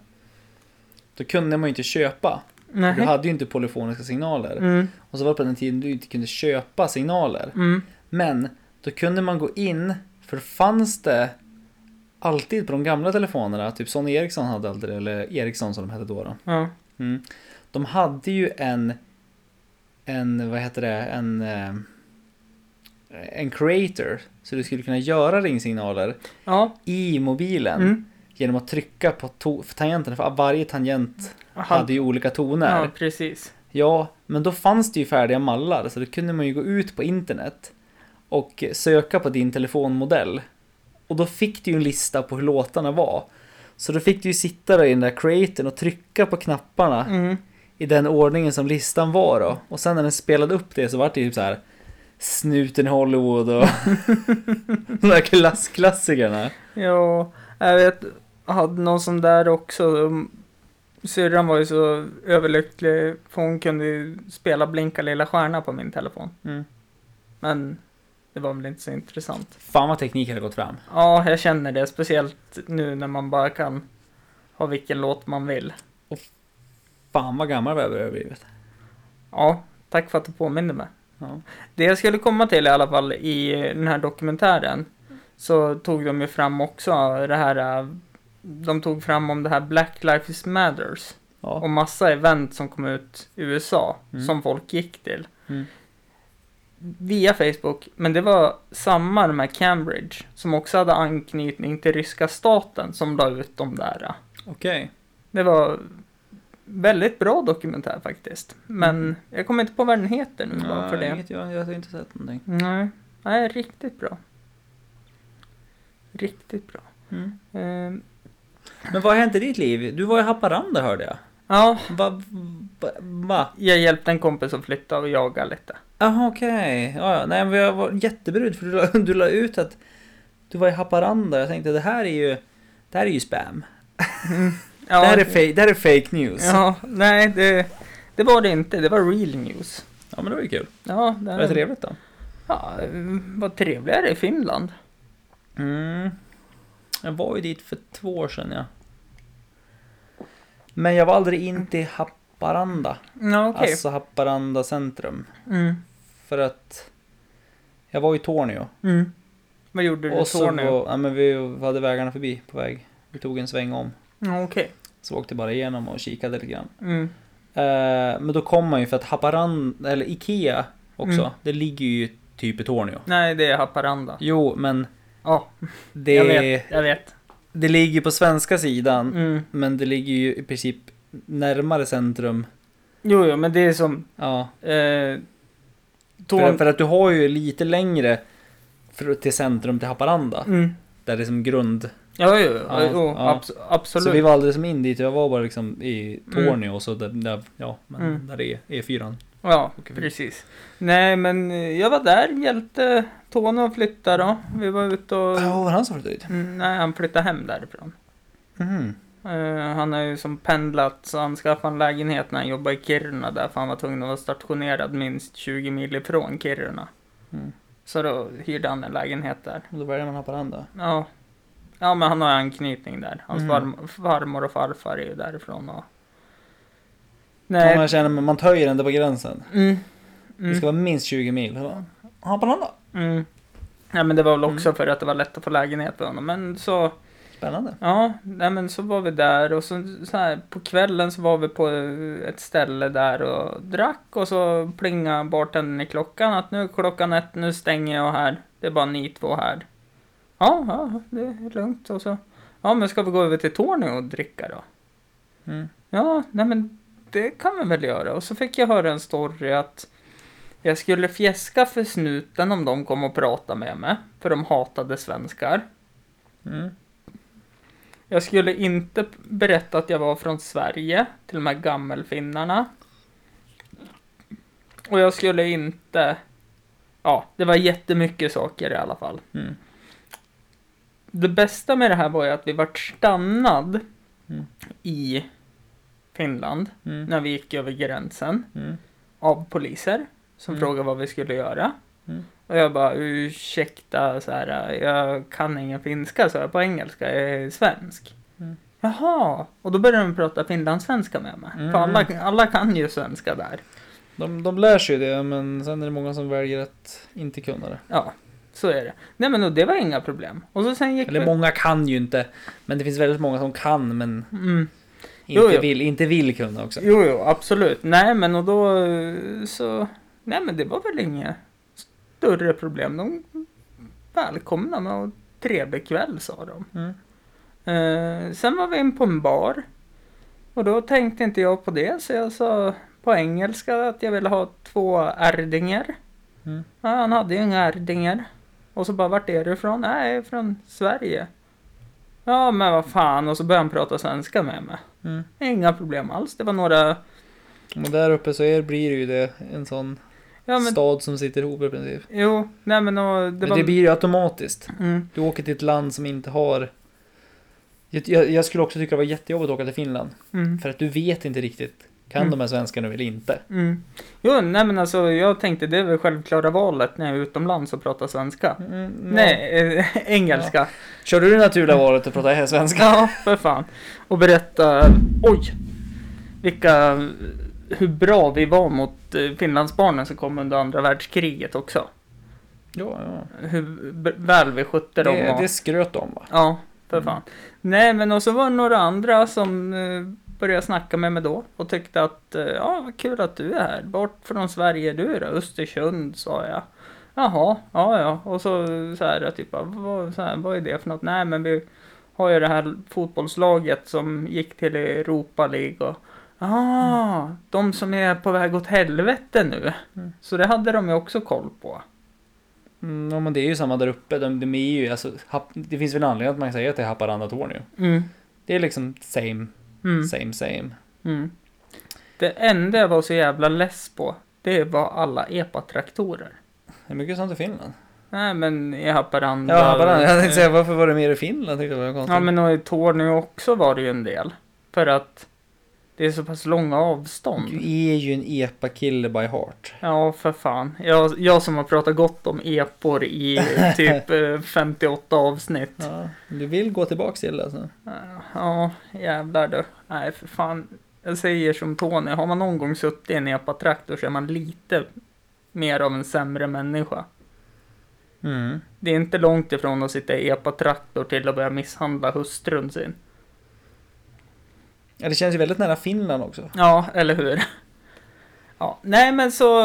[SPEAKER 2] Då kunde man ju inte köpa.
[SPEAKER 1] Nej.
[SPEAKER 2] För Du hade ju inte polyfoniska signaler.
[SPEAKER 1] Mm,
[SPEAKER 2] Och så var det på den tiden du inte kunde köpa signaler.
[SPEAKER 1] mm,
[SPEAKER 2] Men då kunde man gå in, för fanns det alltid på de gamla telefonerna, typ Sony Ericsson hade alltid det, eller Ericsson som de hette då. då.
[SPEAKER 1] ja.
[SPEAKER 2] Mm. De hade ju en, en, vad heter det, en, eh, en creator. Så du skulle kunna göra ringsignaler
[SPEAKER 1] Ja,
[SPEAKER 2] i mobilen
[SPEAKER 1] mm.
[SPEAKER 2] genom att trycka på to- tangenterna. För varje tangent
[SPEAKER 1] Han,
[SPEAKER 2] hade ju olika toner.
[SPEAKER 1] ja,
[SPEAKER 2] Ja.
[SPEAKER 1] precis.
[SPEAKER 2] men då fanns det ju färdiga mallar så då kunde man ju gå ut på internet och söka på din telefonmodell. Och då fick du ju en lista på hur låtarna var. Så då fick du ju sitta där i den där creatorn och trycka på knapparna
[SPEAKER 1] Mm.
[SPEAKER 2] i den ordningen som listan var då. Och sen när den spelade upp det så var det typ så här Snuten i Hollywood och de där klassklassikerna.
[SPEAKER 1] Ja, jag vet. Jag hade någon sån där också. Mm. Syrran var ju så överlycklig för hon kunde ju spela Blinka lilla stjärna på min telefon.
[SPEAKER 2] Mm.
[SPEAKER 1] Men det var väl inte så intressant.
[SPEAKER 2] Fan vad tekniken har gått fram.
[SPEAKER 1] Ja, jag känner det. Speciellt nu när man bara kan ha vilken låt man vill.
[SPEAKER 2] Och Fan vad gammal jag börjar blivit.
[SPEAKER 1] Ja, tack för att du påminner mig.
[SPEAKER 2] Ja.
[SPEAKER 1] Det jag skulle komma till i alla fall i eh, den här dokumentären så tog de ju fram också det här, eh, de tog fram om det här Black Lives Matters
[SPEAKER 2] Ja.
[SPEAKER 1] och massa event som kom ut i USA
[SPEAKER 2] Mm.
[SPEAKER 1] som folk gick till
[SPEAKER 2] Mm.
[SPEAKER 1] via Facebook, men det var samma de här Cambridge som också hade anknytning till ryska staten som la ut de där. eh.
[SPEAKER 2] Okej.
[SPEAKER 1] Det var väldigt bra dokumentär faktiskt, men
[SPEAKER 2] Mm.
[SPEAKER 1] jag kommer inte på vad den heter nu bara
[SPEAKER 2] Ja,
[SPEAKER 1] för det.
[SPEAKER 2] inget Jag, jag har inte sett någonting.
[SPEAKER 1] Nej, nej riktigt bra. Riktigt bra. Ehm,
[SPEAKER 2] Men vad har hänt i ditt liv? Du var i Haparanda hörde jag.
[SPEAKER 1] ja,
[SPEAKER 2] Va? Va? va?
[SPEAKER 1] jag hjälpte en kompis att flytta och jaga lite.
[SPEAKER 2] Jaha okej. Ja, ja. Nej men jag var jätteberud för du la, du la ut att du var i Haparanda. Jag tänkte det här är ju, det här är ju spam.
[SPEAKER 1] Ja,
[SPEAKER 2] Det, här är fake, det här är fake news.
[SPEAKER 1] Ja, nej det, det var det inte. Det var real news.
[SPEAKER 2] Ja, men det var ju kul.
[SPEAKER 1] Ja, det
[SPEAKER 2] Var det trevligt då?
[SPEAKER 1] Ja, vad trevligare i Finland.
[SPEAKER 2] Mm. Jag var ju dit för två år sedan ja. Men jag var aldrig in till Haparanda.
[SPEAKER 1] Ja, okej.
[SPEAKER 2] Alltså Haparanda centrum.
[SPEAKER 1] Mm,
[SPEAKER 2] För att jag var i Tornio.
[SPEAKER 1] mm. Vad gjorde du
[SPEAKER 2] Och
[SPEAKER 1] så
[SPEAKER 2] så
[SPEAKER 1] nu?
[SPEAKER 2] var, ja, men vi hade vägarna förbi på väg. Vi tog en sväng om.
[SPEAKER 1] Ja, okej.
[SPEAKER 2] Så åkte bara igenom och kikade lite grann.
[SPEAKER 1] Mm.
[SPEAKER 2] Eh, men då kom man ju för att Haparanda, eller Ikea också,
[SPEAKER 1] Mm.
[SPEAKER 2] det ligger ju typ i Tornio.
[SPEAKER 1] Nej, det är Haparanda.
[SPEAKER 2] Jo, men
[SPEAKER 1] Ja, jag
[SPEAKER 2] det,
[SPEAKER 1] vet. Jag vet.
[SPEAKER 2] det ligger på svenska sidan.
[SPEAKER 1] Mm.
[SPEAKER 2] Men det ligger ju i princip närmare centrum.
[SPEAKER 1] Jo, jo, men det är som...
[SPEAKER 2] Ja.
[SPEAKER 1] Eh,
[SPEAKER 2] För,
[SPEAKER 1] Torn-
[SPEAKER 2] för att du har ju lite längre för, till centrum till Haparanda.
[SPEAKER 1] Mm.
[SPEAKER 2] Där det är som grund.
[SPEAKER 1] Ja, jo, jo,
[SPEAKER 2] Ja,
[SPEAKER 1] jo
[SPEAKER 2] ja.
[SPEAKER 1] abs- absolut.
[SPEAKER 2] Så vi var aldrig som in dit, jag var bara liksom i
[SPEAKER 1] Mm.
[SPEAKER 2] Tornio och så där, där, ja, men
[SPEAKER 1] Mm.
[SPEAKER 2] där är E E4.
[SPEAKER 1] Ja,
[SPEAKER 2] Åker vi.
[SPEAKER 1] precis. Nej, men eh, jag var där, hjälpte Tony att flytta då. Vi var ute och...
[SPEAKER 2] Ja, var det han som flyttade dit?
[SPEAKER 1] Mm, nej, han flyttade hem därifrån.
[SPEAKER 2] Mhm.
[SPEAKER 1] Eh, han har ju som pendlat, så han skaffade en lägenhet när han jobbade i Kiruna där, för han var tvungen att vara stationerad minst 20 mil ifrån Kiruna.
[SPEAKER 2] Mm.
[SPEAKER 1] Så då hyrde han en lägenhet där.
[SPEAKER 2] Och då väljer man Haparanda.
[SPEAKER 1] Ja. Ja, men han har anknytning där. Hans
[SPEAKER 2] Mm.
[SPEAKER 1] farm- farmor och farfar är ju därifrån och...
[SPEAKER 2] Nej.
[SPEAKER 1] Nej.
[SPEAKER 2] Man känner, man töjer ändå på gränsen.
[SPEAKER 1] Mm.
[SPEAKER 2] Det
[SPEAKER 1] Mm.
[SPEAKER 2] ska vara minst 20 mil. Jag bara, Haparanda!
[SPEAKER 1] Mm. Ja men det var väl
[SPEAKER 2] Mm.
[SPEAKER 1] också för att det var lätt att få lägenhet för honom. Men så,
[SPEAKER 2] Spännande.
[SPEAKER 1] ja, nej men så var vi där och så, så här på kvällen så var vi på eh, ett ställe där och drack och så plingade bartendern i klockan att nu är klockan ett, nu stänger jag här. Det är bara ni två här. Ja, ja, det är lugnt och så. Ja, men ska vi gå över till Tornio och dricka då?
[SPEAKER 2] Mm.
[SPEAKER 1] Ja, nej men det kan vi väl göra. Och så fick jag höra en story att jag skulle fjäska för snuten om de kom och pratade med mig, för de hatade svenskar.
[SPEAKER 2] Mm.
[SPEAKER 1] Jag skulle inte p- berätta att jag var från Sverige, till de här gammelfinnarna. Och jag skulle inte... Ja, det var jättemycket saker i alla fall.
[SPEAKER 2] Mm.
[SPEAKER 1] Det bästa med det här var ju att vi vart stannad
[SPEAKER 2] Mm.
[SPEAKER 1] i Finland
[SPEAKER 2] Mm.
[SPEAKER 1] när vi gick över gränsen.
[SPEAKER 2] Mm.
[SPEAKER 1] av poliser som
[SPEAKER 2] Mm.
[SPEAKER 1] frågade vad vi skulle göra.
[SPEAKER 2] Mm.
[SPEAKER 1] Och jag bara ursäkta, så här, jag kan ingen finska så jag på engelska, jag är svensk.
[SPEAKER 2] Mm.
[SPEAKER 1] Jaha, och då började de prata finlandssvenska med mig.
[SPEAKER 2] Mm.
[SPEAKER 1] För alla, alla kan ju svenska där.
[SPEAKER 2] De, de lär sig ju det, men sen är det många som väljer att inte kunna det.
[SPEAKER 1] Ja, så är det. Nej men och det var inga problem. Och så sen gick
[SPEAKER 2] Eller
[SPEAKER 1] vi...
[SPEAKER 2] många kan ju inte, men det finns väldigt många som kan men
[SPEAKER 1] Mm. Jo,
[SPEAKER 2] inte,
[SPEAKER 1] jo.
[SPEAKER 2] Vill, inte vill kunna också.
[SPEAKER 1] Jo, jo, absolut. Nej men och då eh, så... Nej men det var väl inga större problem. De välkomnade mig och trevlig kväll sa de.
[SPEAKER 2] Mm.
[SPEAKER 1] Eh, sen var vi in på en bar. Och då tänkte inte jag på det så jag sa på engelska att jag ville ha två ärdinger.
[SPEAKER 2] Mm.
[SPEAKER 1] Ja, han hade ju inga ärdinger. Och så bara vart är du ifrån? Nej, jag är från Sverige. Ja men vad fan och så började han prata svenska med mig.
[SPEAKER 2] Mm.
[SPEAKER 1] Inga problem alls. Det var några...
[SPEAKER 2] Och där uppe så är, blir det ju det en sån
[SPEAKER 1] Ja men...
[SPEAKER 2] stad som sitter ihop i princip.
[SPEAKER 1] Jo, nej men och det
[SPEAKER 2] Det,
[SPEAKER 1] var...
[SPEAKER 2] det blir ju automatiskt.
[SPEAKER 1] Mm,
[SPEAKER 2] Du åker till ett land som inte har... Jag, jag, jag skulle också tycka det var jättejobbigt att åka till Finland.
[SPEAKER 1] mm,
[SPEAKER 2] För att du vet inte riktigt. Kan
[SPEAKER 1] Mm.
[SPEAKER 2] de här svenskarna eller inte?
[SPEAKER 1] mm. Jo, nej men alltså jag tänkte det är väl självklara valet när jag är utomlands och pratar svenska.
[SPEAKER 2] Mm,
[SPEAKER 1] Nej, eh, engelska.
[SPEAKER 2] Kör du det naturliga valet att prata här svenska?
[SPEAKER 1] Ja, för fan. Och berätta... Oj! vilka, hur bra vi var mot eh, Finlandsbarnen som kom under andra världskriget också.
[SPEAKER 2] Ja, ja.
[SPEAKER 1] Hur b- väl vi skötte dem.
[SPEAKER 2] Det,
[SPEAKER 1] och-
[SPEAKER 2] det skröt de va?
[SPEAKER 1] Ja, för
[SPEAKER 2] Mm.
[SPEAKER 1] fan. Nej, men och så var det några andra som eh, började snacka med mig då och tyckte att eh, ja, vad kul att du är här. Bort från Sverige är du då? Östersund, sa jag. Jaha, ja, ja. Och så så här, typ, vad, så här, vad är det för något? Nej, men vi har ju det här fotbollslaget som gick till Europa League och Ah, de som är på väg åt helvete nu.
[SPEAKER 2] Mm.
[SPEAKER 1] Så det hade de ju också koll på.
[SPEAKER 2] Mm, ja, men det är ju samma där uppe. De, de är ju, alltså, Hap- det finns väl en anledning att man säger att det är Haparanda Tornio.
[SPEAKER 1] Mm.
[SPEAKER 2] Det är liksom same,
[SPEAKER 1] Mm.
[SPEAKER 2] same, same.
[SPEAKER 1] Mm. Det enda jag var så jävla less på, det var alla epatraktorer.
[SPEAKER 2] Det är mycket sånt i Finland.
[SPEAKER 1] Nej men i Haparanda.
[SPEAKER 2] Ja, Haparanda. Jag tänkte säga varför var det mer i Finland? Tyckte jag var konstigt.
[SPEAKER 1] Ja men och i Tornio också var det ju en del. För att det är så pass långa
[SPEAKER 2] Du
[SPEAKER 1] avstånd.
[SPEAKER 2] är ju en epa-kille by heart.
[SPEAKER 1] Ja för fan. Jag, jag som har pratat gott om epor i typ eh, 58 avsnitt.
[SPEAKER 2] Ja, du vill gå tillbaks till det alltså.
[SPEAKER 1] Ja jävlar du. Nej för fan. Jag säger som Tony, har man någon gång suttit i en epatraktor så är man lite mer av en sämre människa.
[SPEAKER 2] Mm.
[SPEAKER 1] Det är inte långt ifrån att sitta i epatraktor till att börja misshandla hustrun sin.
[SPEAKER 2] Ja, det känns ju väldigt nära Finland också.
[SPEAKER 1] Ja, eller hur? Ja, nej men så,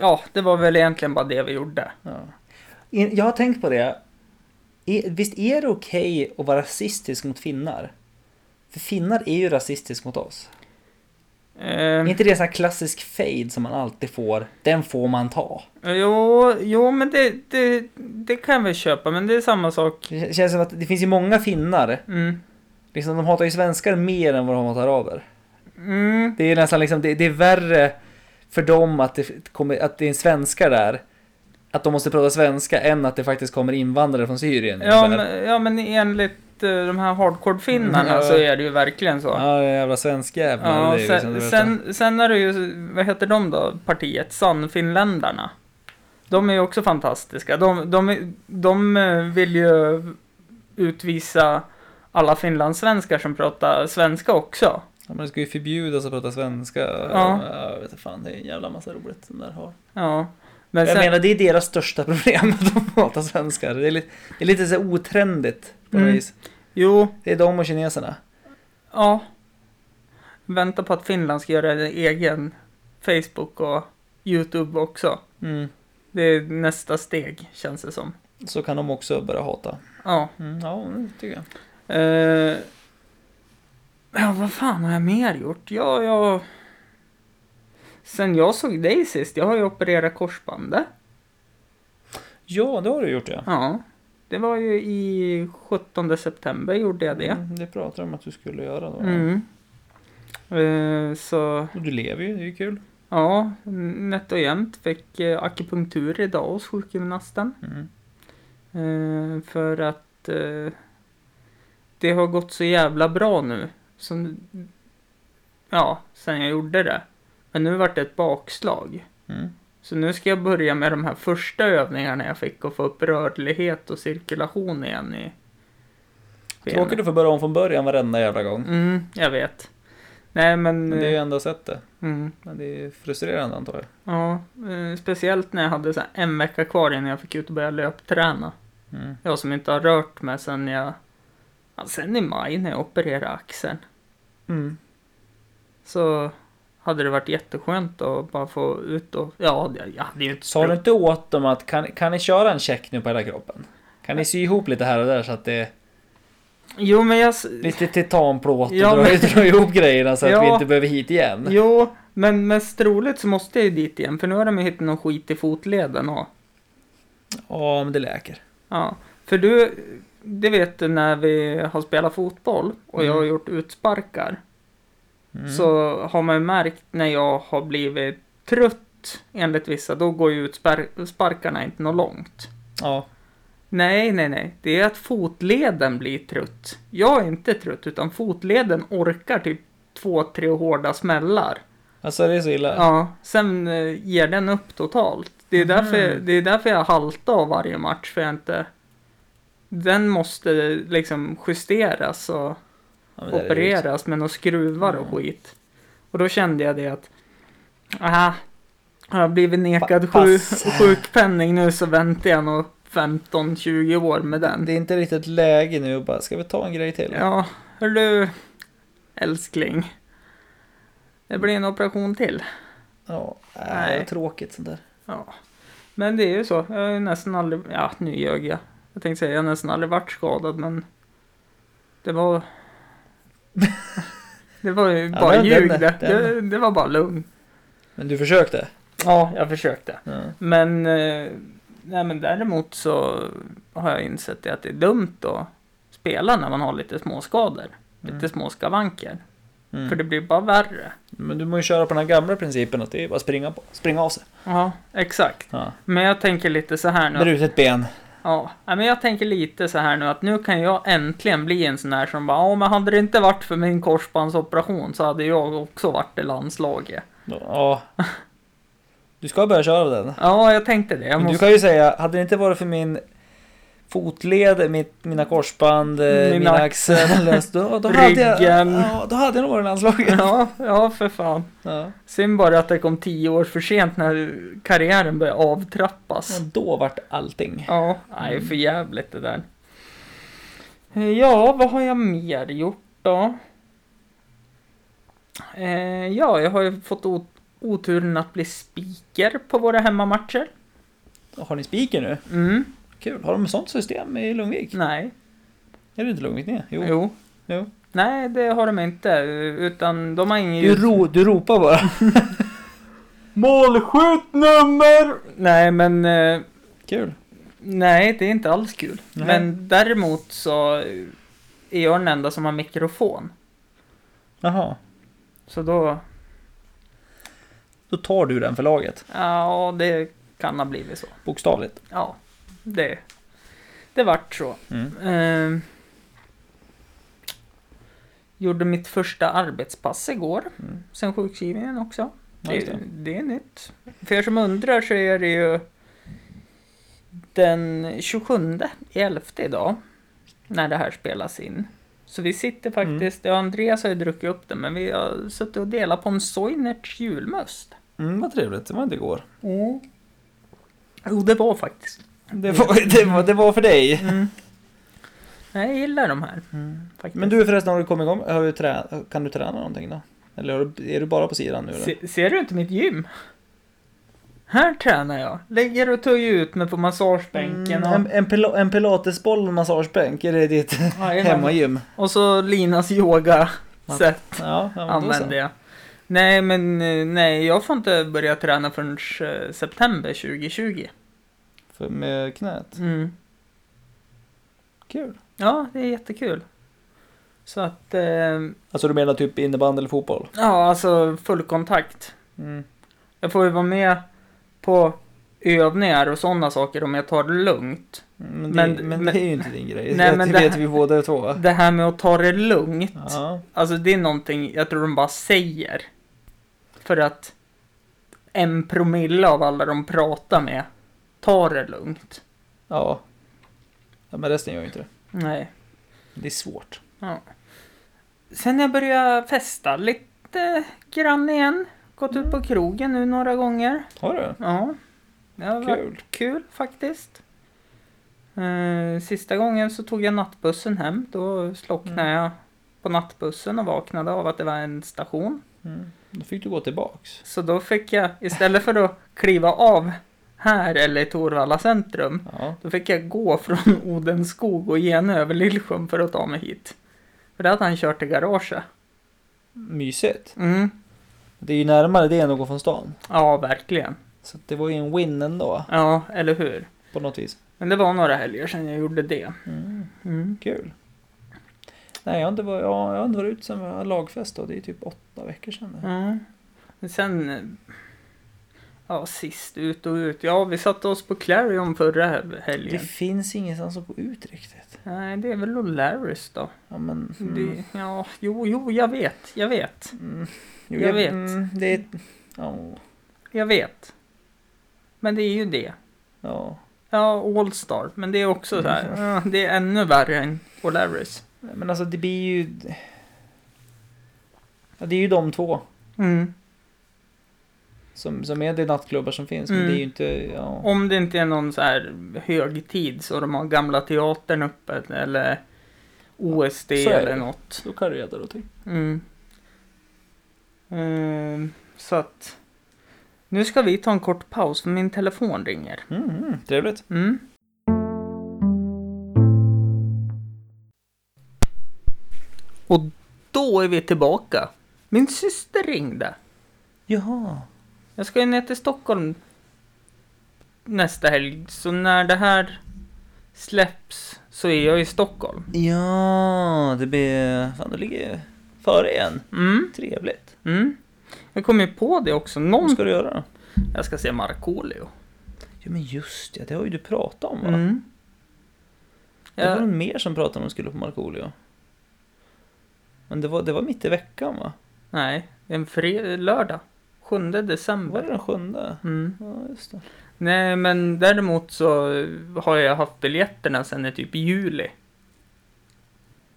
[SPEAKER 1] ja, det var väl egentligen bara det vi gjorde.
[SPEAKER 2] Ja. In- Jag har tänkt på det. I- Visst är det okej att vara rasistisk mot finnar? För finnar är ju rasistisk mot oss.
[SPEAKER 1] Eh,
[SPEAKER 2] Är inte det en sån här klassisk fade som man alltid får? Den får man ta.
[SPEAKER 1] jo, jo, men det, det, det kan vi köpa, men det är samma sak.
[SPEAKER 2] Det k- känns som att det finns ju många finnar.
[SPEAKER 1] Mm.
[SPEAKER 2] Liksom, de hatar ju svenskar mer än vad de hatar araber.
[SPEAKER 1] Mm.
[SPEAKER 2] Det är nästan liksom, det, det är värre för dem att det, kommer, att det är en svenskar där. Att de måste prata svenska än att det faktiskt kommer invandrare från Syrien.
[SPEAKER 1] Ja,
[SPEAKER 2] ungefär.
[SPEAKER 1] men, ja, men enligt eh, de här hardcore-finnarna
[SPEAKER 2] Mm, ja.
[SPEAKER 1] så är det ju verkligen så.
[SPEAKER 2] Ja, det är jävla svenskjävlar.
[SPEAKER 1] Ja,
[SPEAKER 2] det är
[SPEAKER 1] sen,
[SPEAKER 2] liksom det värsta.
[SPEAKER 1] sen, sen är det ju, vad heter de då, partiet? Sannfinländarna. De är ju också fantastiska. De, de, de eh, vill ju utvisa alla finlandssvenskar som pratar svenska också.
[SPEAKER 2] Ja, men det ska ju förbjudas att prata svenska.
[SPEAKER 1] Ja.
[SPEAKER 2] Jag vet inte fan, det är en jävla massa roligt den där har.
[SPEAKER 1] Ja. Men
[SPEAKER 2] jag
[SPEAKER 1] sen,
[SPEAKER 2] menar, det är deras största problem, att de pratar svenska. Det är lite, det är lite så här otrendigt på något
[SPEAKER 1] Mm.
[SPEAKER 2] vis.
[SPEAKER 1] jo,
[SPEAKER 2] Det är de och kineserna.
[SPEAKER 1] ja. Vänta på att Finland ska göra en egen Facebook och YouTube också.
[SPEAKER 2] Mm.
[SPEAKER 1] Det är nästa steg, känns det som.
[SPEAKER 2] Så kan de också börja hata.
[SPEAKER 1] Ja.
[SPEAKER 2] Mm, ja, det tycker jag.
[SPEAKER 1] Eh, ja, vad fan har jag mer gjort? Ja, jag... Sen jag såg dig sist, jag har ju opererat korsbandet.
[SPEAKER 2] Ja, det har du gjort ja.
[SPEAKER 1] Ja. Det var ju i 17 september gjorde jag det.
[SPEAKER 2] Mm, det pratade de om att du skulle göra då.
[SPEAKER 1] Mm. Eh, så,
[SPEAKER 2] Och du lever ju, det är ju kul.
[SPEAKER 1] ja, nätt och jämnt fick eh, akupunktur idag hos sjukgymnasten.
[SPEAKER 2] Mm.
[SPEAKER 1] Eh, för att eh, det har gått så jävla bra nu. Som, ja, sen jag gjorde det. Men nu vart det ett bakslag.
[SPEAKER 2] Mm.
[SPEAKER 1] Så nu ska jag börja med de här första övningarna jag fick och få upp rörlighet och cirkulation igen i benet.
[SPEAKER 2] Tråkigt att få börja om från början varenda jävla gång.
[SPEAKER 1] Mm, jag vet. Nej men... eh,
[SPEAKER 2] Men det är ju enda sättet.
[SPEAKER 1] mm,
[SPEAKER 2] Men det är frustrerande antar jag.
[SPEAKER 1] ja, eh, speciellt när jag hade så här en vecka kvar innan jag fick ut och börja löpträna.
[SPEAKER 2] Mm.
[SPEAKER 1] Jag som inte har rört mig sen jag... Ja, sen i maj när jag opererade axeln.
[SPEAKER 2] Mm.
[SPEAKER 1] Så hade det varit jätteskönt att bara få ut och... Ja, jag- jag hade ju inte...
[SPEAKER 2] Sa du inte åt dem att kan, kan ni köra en check nu på hela kroppen? Kan ni sy ihop lite här och där så att det är
[SPEAKER 1] Jo, men jag... s-
[SPEAKER 2] lite titanplåt och
[SPEAKER 1] Ja,
[SPEAKER 2] dra,
[SPEAKER 1] men-
[SPEAKER 2] dra ihop grejerna så att vi
[SPEAKER 1] Ja.
[SPEAKER 2] inte behöver hit igen?
[SPEAKER 1] Jo, men mest roligt så måste jag ju dit igen för nu har de ju hittat någon skit i fotleden och...
[SPEAKER 2] Ja, men det läker.
[SPEAKER 1] Ja, för du... Det vet du när vi har spelat fotboll och jag har
[SPEAKER 2] Mm.
[SPEAKER 1] gjort utsparkar.
[SPEAKER 2] Mm.
[SPEAKER 1] så har man ju märkt när jag har blivit trött enligt vissa, då går ju utspar- sparkarna inte något långt.
[SPEAKER 2] Ja.
[SPEAKER 1] Nej, nej, nej. Det är att fotleden blir trött. Jag är inte trött, utan fotleden orkar typ två, tre hårda smällar.
[SPEAKER 2] Alltså det är så illa?
[SPEAKER 1] Ja, sen eh, ger den upp totalt. Det är, därför,
[SPEAKER 2] Mhm.
[SPEAKER 1] det är därför jag haltar av varje match, för jag inte... Den måste liksom justeras och
[SPEAKER 2] Ja, men det är det ju. liksom-
[SPEAKER 1] opereras med några skruvar och
[SPEAKER 2] Mm.
[SPEAKER 1] skit. Och då kände jag det att, aha, har jag blivit nekad
[SPEAKER 2] Pa-
[SPEAKER 1] sju,
[SPEAKER 2] pass.
[SPEAKER 1] sjukpenning nu så väntar jag nog 15-20 år med den.
[SPEAKER 2] Det är inte riktigt läge nu att bara, ska vi ta en grej till?
[SPEAKER 1] Ja, hörru älskling. Det blir en operation till.
[SPEAKER 2] Ja, äh,
[SPEAKER 1] Nej.
[SPEAKER 2] vad tråkigt sånt där.
[SPEAKER 1] Ja. Men det är ju så. Jag har ju nästan aldrig, ja nu ljög jag. Jag tänkte säga jag har nästan aldrig varit skadad men det var... Det var ju
[SPEAKER 2] Ja,
[SPEAKER 1] bara
[SPEAKER 2] den-
[SPEAKER 1] ljug
[SPEAKER 2] den-
[SPEAKER 1] det.
[SPEAKER 2] den-
[SPEAKER 1] det. Det var bara lugn.
[SPEAKER 2] Men du försökte?
[SPEAKER 1] Ja, jag försökte.
[SPEAKER 2] Ja.
[SPEAKER 1] Men, eh, nej men däremot så har jag insett det att det är dumt att spela när man har lite småskador. Lite små skavanker.
[SPEAKER 2] Mm.
[SPEAKER 1] För det blir bara värre.
[SPEAKER 2] Men du måste ju köra på den här gamla principen att det är bara springa, på, springa av sig.
[SPEAKER 1] Ja, exakt.
[SPEAKER 2] Ja.
[SPEAKER 1] Men jag tänker lite så här nu. att-
[SPEAKER 2] Brutet ben.
[SPEAKER 1] Ja, nej, men jag tänker lite så här nu att nu kan jag äntligen bli en sån här som bara, ja men hade det inte varit för min korsbandsoperation så hade jag också varit i landslaget.
[SPEAKER 2] Ja. Du ska börja köra den.
[SPEAKER 1] Ja, jag tänkte det. Jag
[SPEAKER 2] Men du
[SPEAKER 1] måste,
[SPEAKER 2] kan ju säga, hade det inte varit för min fotled, mitt, mina korsband, mina,
[SPEAKER 1] Min
[SPEAKER 2] mina
[SPEAKER 1] axel.
[SPEAKER 2] axellöst, då, då, hade jag,
[SPEAKER 1] Ryggen.
[SPEAKER 2] ja, då hade jag nog varit i landslaget.
[SPEAKER 1] ja, ja, för fan.
[SPEAKER 2] Ja.
[SPEAKER 1] Synd bara att det kom tio år för sent när karriären började avtrappas.
[SPEAKER 2] Och då vart allting.
[SPEAKER 1] Ja, nej för jävligt det där. Eh, Ja, vad har jag mer gjort då? Eh, ja, jag har ju fått o- oturen att bli speaker på våra hemmamatcher.
[SPEAKER 2] Har ni spiker nu?
[SPEAKER 1] Mm,
[SPEAKER 2] Kul. Har de sånt system i Lundvik?
[SPEAKER 1] nej.
[SPEAKER 2] Är det inte Lundvik ni är? Jo.
[SPEAKER 1] Jo.
[SPEAKER 2] jo.
[SPEAKER 1] Nej, det har de inte. Utan de har ingen...
[SPEAKER 2] Du, ro, du ropar bara.
[SPEAKER 1] Målskjut nummer! Nej, men... Eh,
[SPEAKER 2] Kul.
[SPEAKER 1] nej, det är inte alls kul.
[SPEAKER 2] Nej.
[SPEAKER 1] Men däremot så är jag den enda som har mikrofon.
[SPEAKER 2] Jaha.
[SPEAKER 1] Så då...
[SPEAKER 2] Då tar du den för laget.
[SPEAKER 1] Ja, det kan ha blivit så.
[SPEAKER 2] Bokstavligt.
[SPEAKER 1] Ja, det, det vart så.
[SPEAKER 2] Mm.
[SPEAKER 1] Ehm, gjorde mitt första arbetspass igår,
[SPEAKER 2] Mm.
[SPEAKER 1] sen sjukskrivningen också.
[SPEAKER 2] Ja, just
[SPEAKER 1] Det,
[SPEAKER 2] det.
[SPEAKER 1] det är nytt. För er som undrar så är det ju den 27 i 11 idag när det här spelas in. Så vi sitter
[SPEAKER 2] Mm.
[SPEAKER 1] faktiskt, ja, Andreas har ju druckit upp det, men vi har suttit och delat på en Soinerts julmust.
[SPEAKER 2] Mm, vad trevligt. Det var inte igår.
[SPEAKER 1] Mm. Jo, det var faktiskt
[SPEAKER 2] Det var, det var, det var för dig.
[SPEAKER 1] Mm. Nej, Jag gillar de här. Faktiskt.
[SPEAKER 2] Mm. Men du förresten, har du kommit igång? Har du trä, kan du träna någonting då? Eller har du, är du bara på sidan nu? eller?
[SPEAKER 1] Se, ser du inte mitt gym? Här tränar jag. Lägger och töjer ut mig på massagebänken.
[SPEAKER 2] Mm, en,
[SPEAKER 1] Och,
[SPEAKER 2] en, pil- en pilatesboll och en massagebänk, är det ditt
[SPEAKER 1] Jajamän.
[SPEAKER 2] hemmagym?
[SPEAKER 1] och så Linas yoga-sätt
[SPEAKER 2] Ja, ja men då så.
[SPEAKER 1] använder jag. Nej, men eh, nej, jag får inte börja träna förrän eh, september 2020.
[SPEAKER 2] För, med knät.
[SPEAKER 1] Mm.
[SPEAKER 2] Kul.
[SPEAKER 1] Ja, det är jättekul. Så att, eh,
[SPEAKER 2] Alltså du menar typ innebandy eller fotboll?
[SPEAKER 1] ja, alltså full kontakt.
[SPEAKER 2] Mm.
[SPEAKER 1] Jag får ju vara med på övningar och sådana saker om jag tar det lugnt.
[SPEAKER 2] Men, det,
[SPEAKER 1] Men-
[SPEAKER 2] men, det är ju inte din grej.
[SPEAKER 1] Nej,
[SPEAKER 2] det
[SPEAKER 1] men det
[SPEAKER 2] vet
[SPEAKER 1] här-
[SPEAKER 2] vi båda två.
[SPEAKER 1] Det här med att ta det lugnt,
[SPEAKER 2] Ja.
[SPEAKER 1] alltså det är någonting jag tror de bara säger. För att en promille av alla de pratar med tar det lugnt.
[SPEAKER 2] ja. Ja, men resten gör ju inte det.
[SPEAKER 1] Nej.
[SPEAKER 2] Det är svårt.
[SPEAKER 1] Sen jag började festa lite grann igen. Gått
[SPEAKER 2] Mm.
[SPEAKER 1] ut på krogen nu några gånger.
[SPEAKER 2] Har du?
[SPEAKER 1] Ja. Det har varit
[SPEAKER 2] Kul.
[SPEAKER 1] kul faktiskt. Eh, sista gången så tog jag nattbussen hem. Då slocknade jag på nattbussen och vaknade av att det var en station.
[SPEAKER 2] Mm. Då fick du gå tillbaks.
[SPEAKER 1] Så då fick jag, istället för att kliva av här eller i Torvalla centrum,
[SPEAKER 2] Ja.
[SPEAKER 1] då fick jag gå från Odenskog och igen över Lillsjön för att ta mig hit. För det hade han kört i garaget.
[SPEAKER 2] Mysigt.
[SPEAKER 1] Mm.
[SPEAKER 2] Det är ju närmare det än att gå från stan.
[SPEAKER 1] Ja, verkligen.
[SPEAKER 2] Så det var ju en win ändå.
[SPEAKER 1] Ja, eller hur?
[SPEAKER 2] På något vis.
[SPEAKER 1] Men det var några helger sedan jag gjorde det.
[SPEAKER 2] Mm.
[SPEAKER 1] Mm.
[SPEAKER 2] Kul. Nej, jag har inte varit, ja, jag har inte varit ute sen vi hade lagfest då. Det är typ åtta veckor sedan. nu.
[SPEAKER 1] Ja. Men sen... eh, Ja, sist ut och ut. Ja, vi satte oss på Clarion förra he-
[SPEAKER 2] Det
[SPEAKER 1] helgen.
[SPEAKER 2] finns ingenstans att gå ut riktigt.
[SPEAKER 1] Nej, det är väl O'Larrys då.
[SPEAKER 2] Ja, men, mm.
[SPEAKER 1] Det, ja, jo, jo, jag vet. Jag vet.
[SPEAKER 2] Mm.
[SPEAKER 1] Jag vet.
[SPEAKER 2] Mm, det är... Ja.
[SPEAKER 1] Jag vet. Men det är ju det.
[SPEAKER 2] ja.
[SPEAKER 1] Ja, Allstar. Men det är också så
[SPEAKER 2] Mm.
[SPEAKER 1] här. ja, Det är ännu värre än O'Larrys.
[SPEAKER 2] Men alltså det blir ju... Ja, det är ju de två.
[SPEAKER 1] Mm.
[SPEAKER 2] Som, som är de nattklubbar som finns. Men
[SPEAKER 1] Mm.
[SPEAKER 2] det är ju inte... Ja.
[SPEAKER 1] Om det inte är någon så här högtid så de har gamla teatern öppet eller OSD
[SPEAKER 2] så är det.
[SPEAKER 1] eller något.
[SPEAKER 2] Då kan du göra någonting.
[SPEAKER 1] Mm. Ehm, så att nu ska vi ta en kort paus för min telefon ringer.
[SPEAKER 2] Mm, trevligt.
[SPEAKER 1] Mm. Och då är vi tillbaka. Min syster ringde.
[SPEAKER 2] Jaha.
[SPEAKER 1] Jag ska ju ner till Stockholm nästa helg. Så när det här släpps så är jag i Stockholm.
[SPEAKER 2] Ja, det blir... Fan, du ligger före igen.
[SPEAKER 1] Mm,
[SPEAKER 2] Trevligt.
[SPEAKER 1] mm. Jag kom ju på det också. Någon...
[SPEAKER 2] Vad ska du göra då?
[SPEAKER 1] Jag ska se Markoolio.
[SPEAKER 2] Ja, men just det. Det har ju du pratat om va?
[SPEAKER 1] Mm.
[SPEAKER 2] Det var
[SPEAKER 1] Jag,
[SPEAKER 2] någon mer som pratade om att de skulle på Markoolio. Men det var, det var mitt i veckan va?
[SPEAKER 1] nej, en fred- lördag. 7
[SPEAKER 2] Var
[SPEAKER 1] december.
[SPEAKER 2] det den sjunde?
[SPEAKER 1] Mm.
[SPEAKER 2] Ja, just det.
[SPEAKER 1] Nej, men däremot så eh, har jag haft biljetterna sedan i typ juli.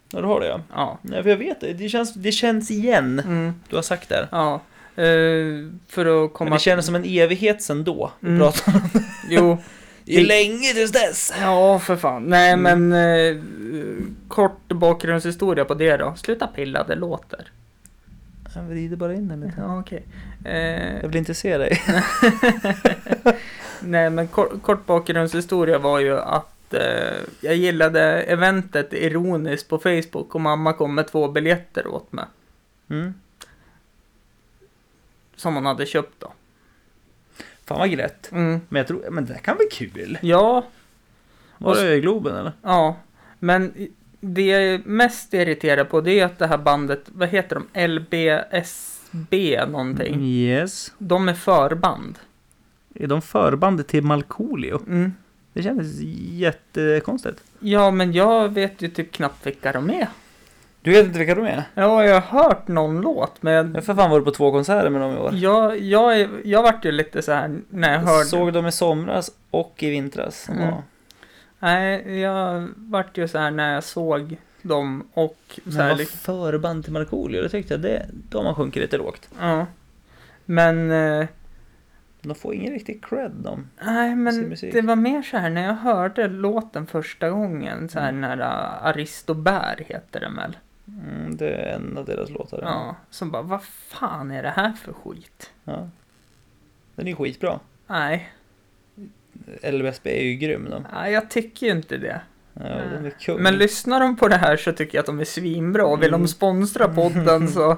[SPEAKER 2] Ja, du har det ja.
[SPEAKER 1] Ja.
[SPEAKER 2] Nej, för jag vet det. Det känns, det känns igen.
[SPEAKER 1] Mm.
[SPEAKER 2] Du har sagt det. här.
[SPEAKER 1] Ja. Eh, för att komma...
[SPEAKER 2] Men det känns som en evighet sen då. Vi
[SPEAKER 1] Mm.
[SPEAKER 2] pratar om
[SPEAKER 1] Jo.
[SPEAKER 2] det är länge tills dess.
[SPEAKER 1] Ja, för fan. Nej,
[SPEAKER 2] Mm.
[SPEAKER 1] men eh, kort bakgrundshistoria på det då. Sluta pilla, det låter.
[SPEAKER 2] Jag vrider bara in den lite.
[SPEAKER 1] Ja, okej.
[SPEAKER 2] Jag
[SPEAKER 1] Eh,
[SPEAKER 2] vill inte se dig.
[SPEAKER 1] nej, men kort, kort bakgrundshistoria var ju att eh, jag gillade eventet ironiskt på Facebook och mamma kom med två biljetter åt mig.
[SPEAKER 2] Mm.
[SPEAKER 1] Som hon hade köpt då.
[SPEAKER 2] Fan vad glätt.
[SPEAKER 1] Mm.
[SPEAKER 2] Men jag tror, men det här kan bli kul.
[SPEAKER 1] Ja,
[SPEAKER 2] Var det i Globen eller?
[SPEAKER 1] ja. Men det jag är mest irriterad på det är att det här bandet, vad heter de? LBSB någonting.
[SPEAKER 2] Mm. Yes.
[SPEAKER 1] De är förband.
[SPEAKER 2] Är de förbandet till Malcolio?
[SPEAKER 1] Mm.
[SPEAKER 2] Det kändes jättekonstigt.
[SPEAKER 1] Ja, men jag vet ju typ knappt vilka de är.
[SPEAKER 2] Du vet inte vilka de är?
[SPEAKER 1] Ja, jag har hört någon låt, men
[SPEAKER 2] Jag för fan var på två konserter med dem i år.
[SPEAKER 1] jag, jag, är- jag vart ju lite så här när Mm, jag hörde.
[SPEAKER 2] Jag såg dem i somras och i vintras.
[SPEAKER 1] Mm.
[SPEAKER 2] Ja.
[SPEAKER 1] Nej, jag vart ju så här när jag såg dem och så
[SPEAKER 2] Men
[SPEAKER 1] här.
[SPEAKER 2] vad
[SPEAKER 1] liksom-
[SPEAKER 2] förband till Markoolio, det tyckte jag, det, de har sjunkit lite lågt.
[SPEAKER 1] Ja. Men, eh,
[SPEAKER 2] De får ingen riktig cred de.
[SPEAKER 1] nej
[SPEAKER 2] Sin
[SPEAKER 1] men
[SPEAKER 2] musik.
[SPEAKER 1] det var mer så här när jag hörde låten första gången. Så här när eh, Aristobär heter den väl.
[SPEAKER 2] Mm, det är en av deras låtar.
[SPEAKER 1] Ja. Som bara, vad fan är det här för skit?
[SPEAKER 2] Ja. Den är ju skitbra.
[SPEAKER 1] Nej,
[SPEAKER 2] LBSB är ju grym de.
[SPEAKER 1] nej jag tycker ju inte det.
[SPEAKER 2] Ja, den är kung.
[SPEAKER 1] Men lyssnar de på det här så tycker jag att de är svinbra. Vill
[SPEAKER 2] Mm.
[SPEAKER 1] de sponsra podden så...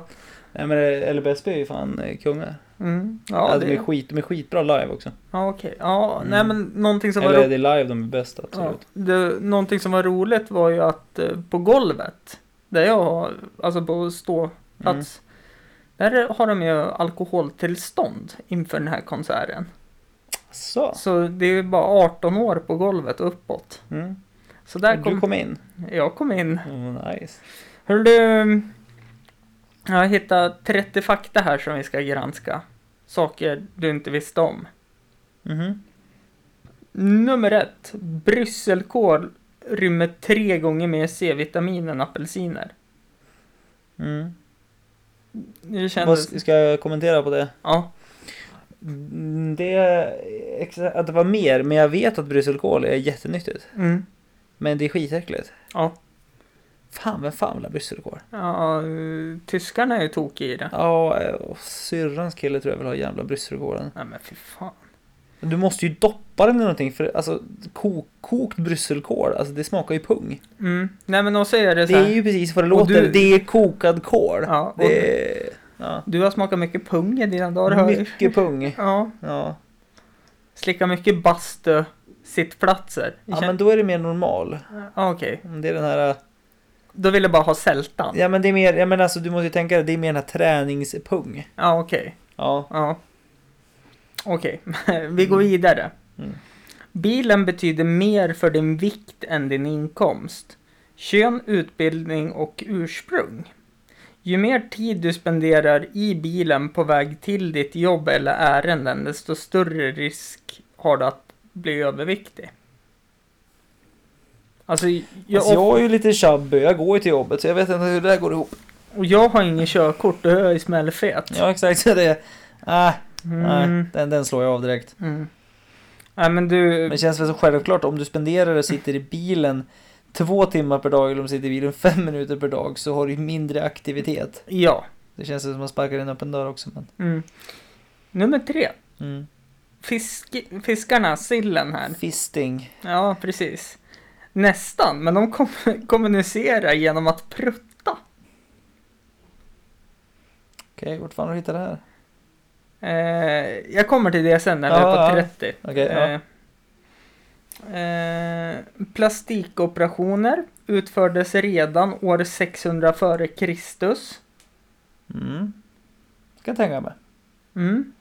[SPEAKER 2] Nej men eh, LBSB är ju fan eh, kungar.
[SPEAKER 1] Mm.
[SPEAKER 2] Ja,
[SPEAKER 1] Ja,
[SPEAKER 2] de, är
[SPEAKER 1] det...
[SPEAKER 2] skit, de är skitbra live också. Mm.
[SPEAKER 1] ja okej. Ja, nej men någonting som var
[SPEAKER 2] Eller är
[SPEAKER 1] roligt...
[SPEAKER 2] det live de är bäst
[SPEAKER 1] Ja,
[SPEAKER 2] absolut.
[SPEAKER 1] det, någonting som var roligt var ju att eh, på golvet, där jag har, alltså på
[SPEAKER 2] Mm.
[SPEAKER 1] ståplats, där har de ju alkoholtillstånd inför den här konserten.
[SPEAKER 2] Så.
[SPEAKER 1] Så det är ju bara 18 år på golvet och uppåt.
[SPEAKER 2] Mm.
[SPEAKER 1] Så där
[SPEAKER 2] Du
[SPEAKER 1] kom,
[SPEAKER 2] kom in.
[SPEAKER 1] jag kom in.
[SPEAKER 2] Oh, nice.
[SPEAKER 1] Hörru du, jag har hittat 30 fakta här som vi ska granska. Saker du inte visste om.
[SPEAKER 2] Mhm.
[SPEAKER 1] Nummer ett. Brysselkål rymmer tre gånger mer C-vitamin än apelsiner.
[SPEAKER 2] Mm.
[SPEAKER 1] Det
[SPEAKER 2] Vad
[SPEAKER 1] kändes...
[SPEAKER 2] ska ska jag kommentera på det?
[SPEAKER 1] Ja.
[SPEAKER 2] Mm, Det är exa- att det var mer, men jag vet att brysselkål är jättenyttigt.
[SPEAKER 1] Mm.
[SPEAKER 2] Men det är skitäckligt.
[SPEAKER 1] Ja.
[SPEAKER 2] Fan, vem fan vill ha brysselkål?
[SPEAKER 1] ja. eh, Tyskarna är ju tokiga i det.
[SPEAKER 2] Ja, eh, och syrrans kille tror jag vill ha jävla brysselkålen.
[SPEAKER 1] Nej men fy fan.
[SPEAKER 2] Du måste ju doppa den i någonting för alltså kok, kokt brysselkål, alltså det smakar ju pung.
[SPEAKER 1] Mm. Nej men då säger jag det
[SPEAKER 2] Det
[SPEAKER 1] så här.
[SPEAKER 2] är ju precis vad det
[SPEAKER 1] Och
[SPEAKER 2] låter,
[SPEAKER 1] du-
[SPEAKER 2] det är kokad kål.
[SPEAKER 1] Ja, och-
[SPEAKER 2] det är... Ja.
[SPEAKER 1] Du har smakat mycket pung i dina dagar hör jag.
[SPEAKER 2] Mycket pung.
[SPEAKER 1] Ja.
[SPEAKER 2] Ja.
[SPEAKER 1] Slickat mycket bastu sittplatser.
[SPEAKER 2] ja, men då är det mer normal.
[SPEAKER 1] Ja, Okej.
[SPEAKER 2] Om Det är den här...
[SPEAKER 1] Då vill jag bara ha sältan.
[SPEAKER 2] Ja men det är mer, ja men alltså du måste ju tänka dig, det är mer den här träningspung.
[SPEAKER 1] Ja, okej.
[SPEAKER 2] Ja.
[SPEAKER 1] Ja. Okej, vi går vidare.
[SPEAKER 2] Mm.
[SPEAKER 1] Bilen betyder mer för din vikt än din inkomst. Kön, utbildning och ursprung. Ju mer tid du spenderar i bilen på väg till ditt jobb eller ärenden, desto större risk har du att bli överviktig. Alltså, jag...
[SPEAKER 2] Alltså, Jag, alltså, jag är ju lite chubby, jag går ju till jobbet så jag vet inte hur det där går ihop.
[SPEAKER 1] Och jag har ingen körkort, då är jag ju smällfet.
[SPEAKER 2] Ja, exakt. Så det... Ah, Nej,
[SPEAKER 1] Mm.
[SPEAKER 2] den, den slår jag av direkt.
[SPEAKER 1] Mm. Nej men du,
[SPEAKER 2] Men det känns väl så självklart om du spenderar och sitter i bilen två timmar per dag eller om du sitter i bilen fem minuter per dag så har du ju mindre aktivitet.
[SPEAKER 1] ja.
[SPEAKER 2] Det känns som att man sparkar in öppen dörr också. Men,
[SPEAKER 1] Mm. Nummer tre.
[SPEAKER 2] mm.
[SPEAKER 1] Fisk, fiskarna, sillen här.
[SPEAKER 2] Fisting.
[SPEAKER 1] Ja, precis. Nästan, men de kom, kommunicerar genom att prutta.
[SPEAKER 2] Okej, vart fan har du hittat det här?
[SPEAKER 1] Eh, jag kommer till det sen när vi
[SPEAKER 2] Ja,
[SPEAKER 1] är
[SPEAKER 2] ja.
[SPEAKER 1] på 30.
[SPEAKER 2] Okej, ja.
[SPEAKER 1] Eh, eh, plastikoperationer utfördes redan år 600 före Kristus.
[SPEAKER 2] Mm. Kan jag tänka mig.
[SPEAKER 1] Mm.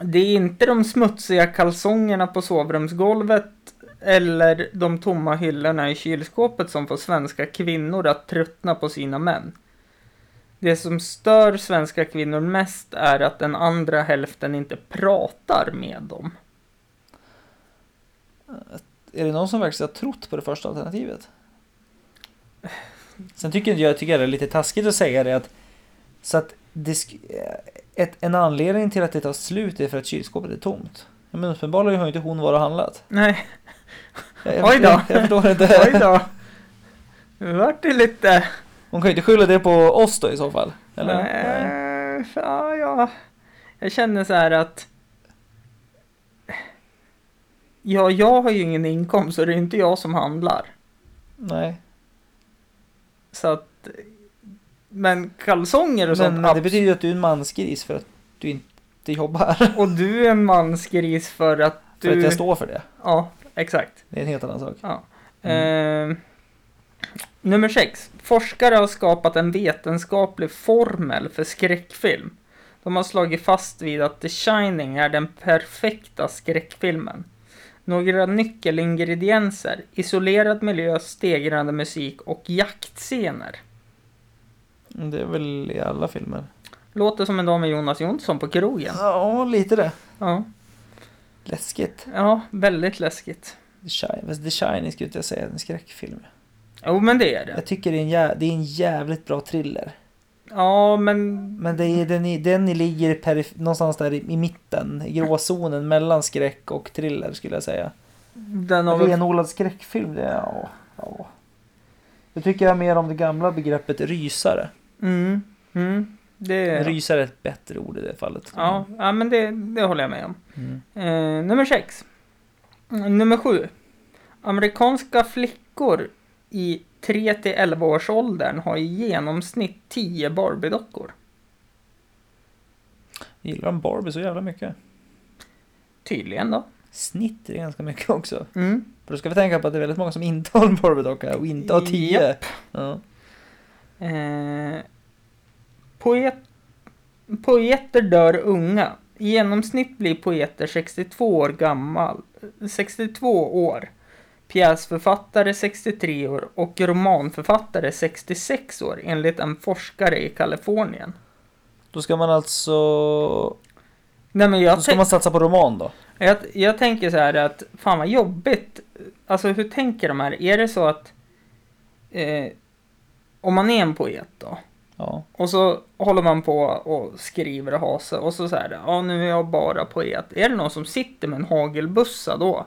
[SPEAKER 1] Det är inte de smutsiga kalsongerna på sovrumsgolvet eller de tomma hyllorna i kylskåpet som får svenska kvinnor att tröttna på sina män. Det som stör svenska kvinnor mest är att den andra hälften inte pratar med dem.
[SPEAKER 2] Är det någon som verkligen har trott på det första alternativet? Sen tycker jag, jag tycker det är lite taskigt att säga det att... Så att det, sk- eh, ett, en anledning till att det tar slut är för att kylskåpet är tomt. Ja, Men uppenbarligen har ju inte hon varit och handlat.
[SPEAKER 1] Nej,
[SPEAKER 2] Jag,
[SPEAKER 1] Oj då.
[SPEAKER 2] Jag, jag förstår
[SPEAKER 1] oj
[SPEAKER 2] inte.
[SPEAKER 1] då. Nu vart det lite...
[SPEAKER 2] Hon kan ju inte skylla det på oss då i så fall. Eller?
[SPEAKER 1] Nej, Eh, ja, ja. Jag känner så här att... Ja, jag har ju ingen inkomst och det är inte jag som handlar.
[SPEAKER 2] Nej.
[SPEAKER 1] Så att... Men kalsonger och sånt.
[SPEAKER 2] Men, men det
[SPEAKER 1] abs-
[SPEAKER 2] betyder ju att du är en mansgris för att du inte jobbar.
[SPEAKER 1] Och du är en mansgris för att du...
[SPEAKER 2] För att jag står för det.
[SPEAKER 1] Ja, exakt.
[SPEAKER 2] Det är en helt annan sak.
[SPEAKER 1] Ja. Eh, nummer sex. Forskare har skapat en vetenskaplig formel för skräckfilm. De har slagit fast vid att The Shining är den perfekta skräckfilmen. Några nyckelingredienser, isolerad miljö, stegrande musik och jaktscener.
[SPEAKER 2] Det är väl i alla filmer.
[SPEAKER 1] Låter som en dag med Jonas Jonsson på krogen.
[SPEAKER 2] Ja, lite det.
[SPEAKER 1] Ja,
[SPEAKER 2] Läskigt.
[SPEAKER 1] ja väldigt läskigt.
[SPEAKER 2] The Shining, fast The Shining skulle inte jag säga är en skräckfilm.
[SPEAKER 1] Jo, men det är det.
[SPEAKER 2] Jag tycker det är en, jä- det är en jävligt bra thriller.
[SPEAKER 1] Ja, men...
[SPEAKER 2] Men det är, den, i- den i ligger perif- någonstans där i, i mitten, i gråzonen mellan skräck och thriller skulle jag säga.
[SPEAKER 1] Den har väl
[SPEAKER 2] Renodlad skräckfilm, det är, ja, ja. Jag tycker jag mer om det gamla begreppet rysare.
[SPEAKER 1] Mm, mm. Det
[SPEAKER 2] Men
[SPEAKER 1] är...
[SPEAKER 2] Rysare är ett bättre ord i det fallet.
[SPEAKER 1] Ja, ja men det, det håller jag med om.
[SPEAKER 2] Mm.
[SPEAKER 1] Eh, nummer sex. Mm, Nummer sju. Amerikanska flickor i 3 till 11 års åldern har i genomsnitt 10 Barbie-dockor.
[SPEAKER 2] Gillar de Barbie så jävla mycket?
[SPEAKER 1] Tydligen då.
[SPEAKER 2] Snitt är ganska mycket också.
[SPEAKER 1] Mm.
[SPEAKER 2] För då ska vi tänka på att det är väldigt många som inte har en Barbie-docka och inte har tio. Ja.
[SPEAKER 1] Eh, poet, poeter dör unga. I genomsnitt blir poeter 62 år gammal. 62 år. Pjäsförfattare 63 år och romanförfattare 66 år enligt en forskare i Kalifornien.
[SPEAKER 2] Då ska man alltså...
[SPEAKER 1] Nej men
[SPEAKER 2] Då
[SPEAKER 1] jag,
[SPEAKER 2] ska
[SPEAKER 1] tänk,
[SPEAKER 2] man satsa på roman då?
[SPEAKER 1] jag, jag tänker så här att fan vad jobbigt. Alltså hur tänker de här? Är det så att eh, om man är en poet då?
[SPEAKER 2] Ja.
[SPEAKER 1] Och så håller man på och skriver och har sig och så säger ja nu är jag bara poet. Är det någon som sitter med en hagelbussa då?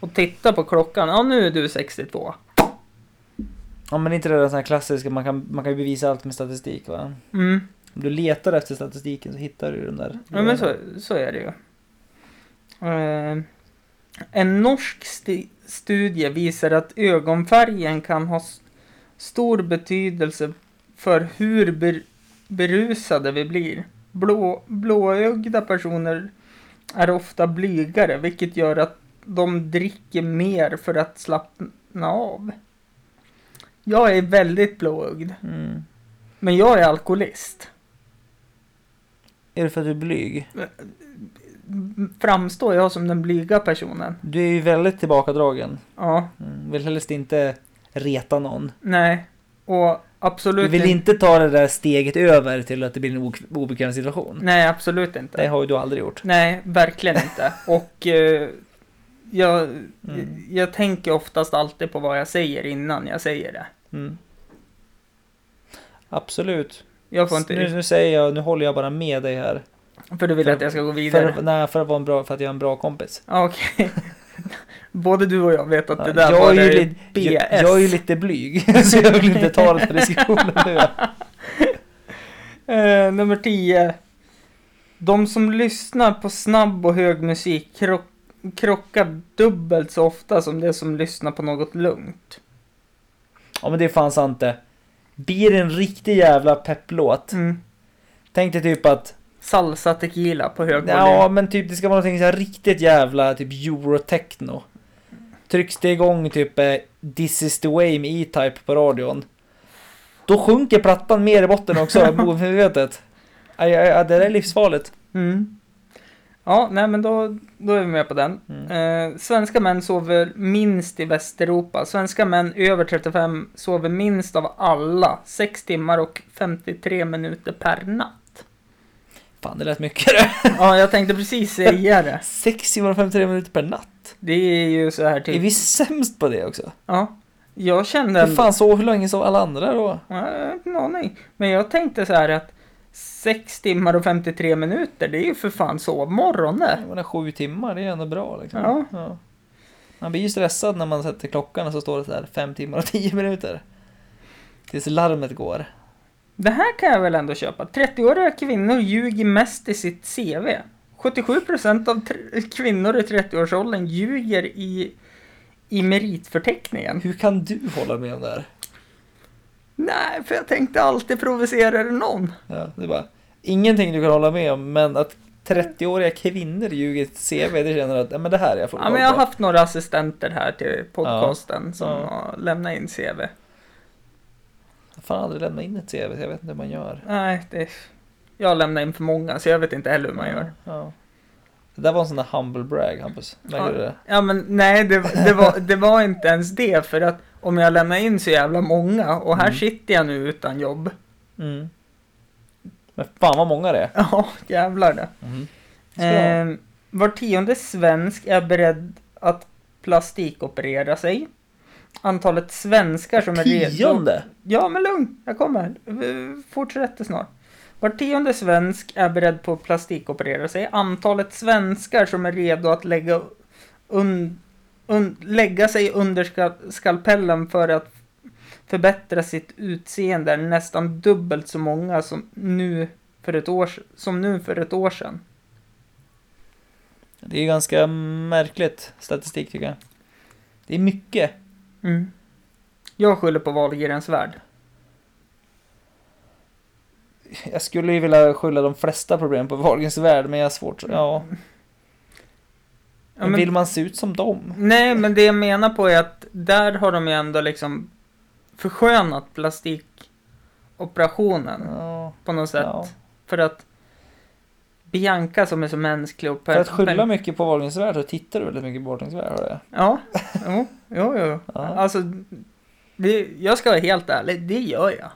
[SPEAKER 1] Och tittar på klockan, ja nu är du 62.
[SPEAKER 2] Ja men inte det där sån här klassiska, man kan, man kan ju bevisa allt med statistik va?
[SPEAKER 1] Mm.
[SPEAKER 2] Om du letar efter statistiken så hittar du ju den där.
[SPEAKER 1] Ja men så, så är det ju. Eh, en norsk sti- studie visar att ögonfärgen kan ha s- stor betydelse för hur ber- berusade vi blir. Blå, blåögda personer är ofta blygare vilket gör att de dricker mer för att slappna av. Jag är väldigt blåögd,
[SPEAKER 2] Mm.
[SPEAKER 1] men jag är alkoholist.
[SPEAKER 2] Är det för att du är blyg?
[SPEAKER 1] M- Framstår jag som den blyga personen?
[SPEAKER 2] Du är ju väldigt tillbakadragen.
[SPEAKER 1] Ja,
[SPEAKER 2] Mm. Vill helst inte reta någon.
[SPEAKER 1] nej. Och
[SPEAKER 2] Du
[SPEAKER 1] absolut
[SPEAKER 2] vill inte ta det där steget över till att det blir en ok- obekväm situation.
[SPEAKER 1] Nej, absolut inte.
[SPEAKER 2] Det har ju du aldrig gjort.
[SPEAKER 1] Nej, verkligen inte. Och eh, jag,
[SPEAKER 2] Mm.
[SPEAKER 1] jag tänker oftast alltid på vad jag säger innan jag säger det.
[SPEAKER 2] Mm. Absolut.
[SPEAKER 1] Jag får
[SPEAKER 2] Nu,
[SPEAKER 1] inte...
[SPEAKER 2] nu säger jag, nu håller jag bara med dig här.
[SPEAKER 1] För du vill att jag ska gå vidare?
[SPEAKER 2] För, nej, för att, vara en bra, för att jag är en bra kompis.
[SPEAKER 1] Ja, Okej. Både du och jag vet att det där
[SPEAKER 2] jag,
[SPEAKER 1] var
[SPEAKER 2] är ju
[SPEAKER 1] det
[SPEAKER 2] lite, jag, jag är ju lite blyg, så jag vill inte ta den här diskussionen nu.
[SPEAKER 1] Eh, nummer 10. De som lyssnar på snabb och hög musik krock, krockar dubbelt så ofta som de som lyssnar på något lugnt.
[SPEAKER 2] Ja men det är fan sant det. Blir det en riktig jävla pepplåt.
[SPEAKER 1] Mm.
[SPEAKER 2] Tänk dig typ att,
[SPEAKER 1] Salsa tequila på hög
[SPEAKER 2] ja
[SPEAKER 1] volym.
[SPEAKER 2] men typ det ska vara någonting så här riktigt jävla typ eurotechno. Trycks det igång typ eh, This is the way med E-Type på radion. Då sjunker plattan mer i botten också, omedvetet. Aj, aj, aj, det där är livsfarligt.
[SPEAKER 1] Mm. Ja, nej men då, då är vi med på den.
[SPEAKER 2] Mm.
[SPEAKER 1] Eh, svenska män sover minst i Västeuropa. Svenska män över 35 sover minst av alla. 6 timmar och 53 minuter per natt.
[SPEAKER 2] Fan det lät mycket det.
[SPEAKER 1] Ja, jag tänkte precis säga det.
[SPEAKER 2] 6 timmar och 53 minuter per natt.
[SPEAKER 1] Det är ju så här typ.
[SPEAKER 2] Är vi sämst på det också?
[SPEAKER 1] Ja, jag kände
[SPEAKER 2] Hur
[SPEAKER 1] ändå...
[SPEAKER 2] fan sov, hur länge sov alla andra då?
[SPEAKER 1] Ja, Jag har ingen aning. Men jag tänkte så här att 6 timmar och 53 minuter, det är ju för fan sovmorgon det.
[SPEAKER 2] Jag menar, sju timmar, det är ändå bra liksom.
[SPEAKER 1] Ja.
[SPEAKER 2] Man blir ju stressad när man sätter klockan och så står det så här fem timmar och tio minuter. Tills larmet går.
[SPEAKER 1] Det här kan jag väl ändå köpa. 30-åriga kvinnor ljuger mest i sitt CV. 77% av tr- kvinnor i 30-årsåldern ljuger i, i meritförteckningen.
[SPEAKER 2] Hur kan du hålla med om det här?
[SPEAKER 1] Nej, för jag tänkte alltid provocera någon.
[SPEAKER 2] Ja, det är bara, ingenting du kan hålla med om, men att 30-åriga kvinnor ljuger i ett CV, det känner du att ja, men det här är jag full
[SPEAKER 1] Ja, men jag har haft några assistenter här till podcasten som
[SPEAKER 2] Ja.
[SPEAKER 1] har lämnat in CV.
[SPEAKER 2] Jag har fan aldrig lämnat in ett CV, så jag vet inte hur man gör.
[SPEAKER 1] Nej, det... Jag lämnar in för många så jag vet inte heller hur man gör.
[SPEAKER 2] Ja. Det där var en sån där humble brag, Hampus. Märkte du det?
[SPEAKER 1] Ja men nej, det, det, var, det var inte ens det för att om jag lämnar in så jävla många och här
[SPEAKER 2] Mm.
[SPEAKER 1] sitter jag nu utan jobb.
[SPEAKER 2] Mm. Men fan vad många det är.
[SPEAKER 1] Ja, jävlar det.
[SPEAKER 2] Mm.
[SPEAKER 1] Eh, var tionde svensk är beredd att plastikoperera sig. Antalet svenskar som är redo...
[SPEAKER 2] Tionde?
[SPEAKER 1] Ja men lugn, jag kommer. Eh, Fortsätter snart. Var tionde svensk är beredd på att plastikoperera sig. Antalet svenskar som är redo att lägga, un, un, lägga sig under ska, skalpellen för att förbättra sitt utseende är nästan dubbelt så många som nu för ett år, s- som nu för ett år sedan.
[SPEAKER 2] Det är ganska märkligt statistik tycker jag. Det är mycket.
[SPEAKER 1] Mm. Jag skyller på Wahlgrens värld.
[SPEAKER 2] Jag skulle ju vilja skylla de flesta problem på Wahlgrens värld, men jag har svårt. Ja.
[SPEAKER 1] Ja,
[SPEAKER 2] men
[SPEAKER 1] men- Mm.
[SPEAKER 2] vill man se ut som dem?
[SPEAKER 1] Nej, men det jag menar på är att där har de ju ändå liksom förskönat plastikoperationen
[SPEAKER 2] Ja.
[SPEAKER 1] på något sätt.
[SPEAKER 2] ja.
[SPEAKER 1] För att Bianca som är så mänsklig och
[SPEAKER 2] För att skylla
[SPEAKER 1] perfekt-
[SPEAKER 2] mycket på Wahlgrens värld så tittar du väldigt mycket på Wahlgrens värld. hör jag.
[SPEAKER 1] Ja, jo, jo, jo.
[SPEAKER 2] Ja.
[SPEAKER 1] Alltså, det, jag ska vara helt ärlig, det gör jag.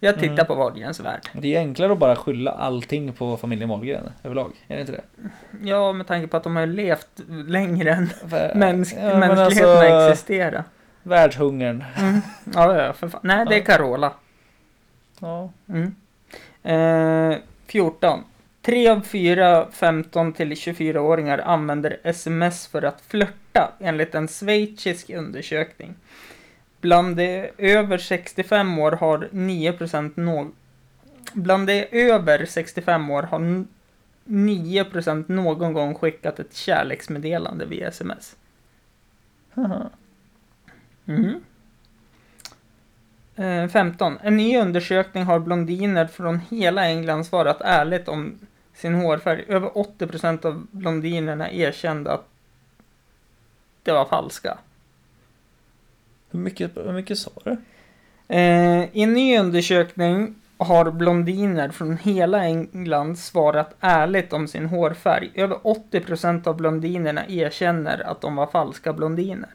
[SPEAKER 1] Jag tittar
[SPEAKER 2] Mm.
[SPEAKER 1] på Wahlgrens värld.
[SPEAKER 2] Men Det är ju enklare att bara skylla allting på familjen Wahlgren överlag. Är det inte det?
[SPEAKER 1] Ja, med tanke på att de har ju levt längre än
[SPEAKER 2] För-
[SPEAKER 1] mänsk-
[SPEAKER 2] Ja, men
[SPEAKER 1] mänskligheten har
[SPEAKER 2] alltså,
[SPEAKER 1] existerat.
[SPEAKER 2] Världshungern.
[SPEAKER 1] Mm. Ja, ja, för fan. Nej, det är
[SPEAKER 2] Ja.
[SPEAKER 1] Carola.
[SPEAKER 2] Ja.
[SPEAKER 1] Mm. Eh, 14. Tre av fyra 15 till 24-åringar använder sms för att flörta enligt en schweizisk undersökning. Bland de över 65 år har 9 no- Bland de över 65 år har n- 9 någon gång skickat ett kärleksmeddelande via sms.
[SPEAKER 2] Haha.
[SPEAKER 1] Mm. Eh, 15. En ny undersökning har blondiner från hela England svarat ärligt om sin hårfärg. Över 80% av blondinerna erkände att det var falska.
[SPEAKER 2] Hur mycket, hur mycket sa du?
[SPEAKER 1] Eh, I en ny undersökning har blondiner från hela England svarat ärligt om sin hårfärg. Över 80% av blondinerna erkänner att de var falska blondiner.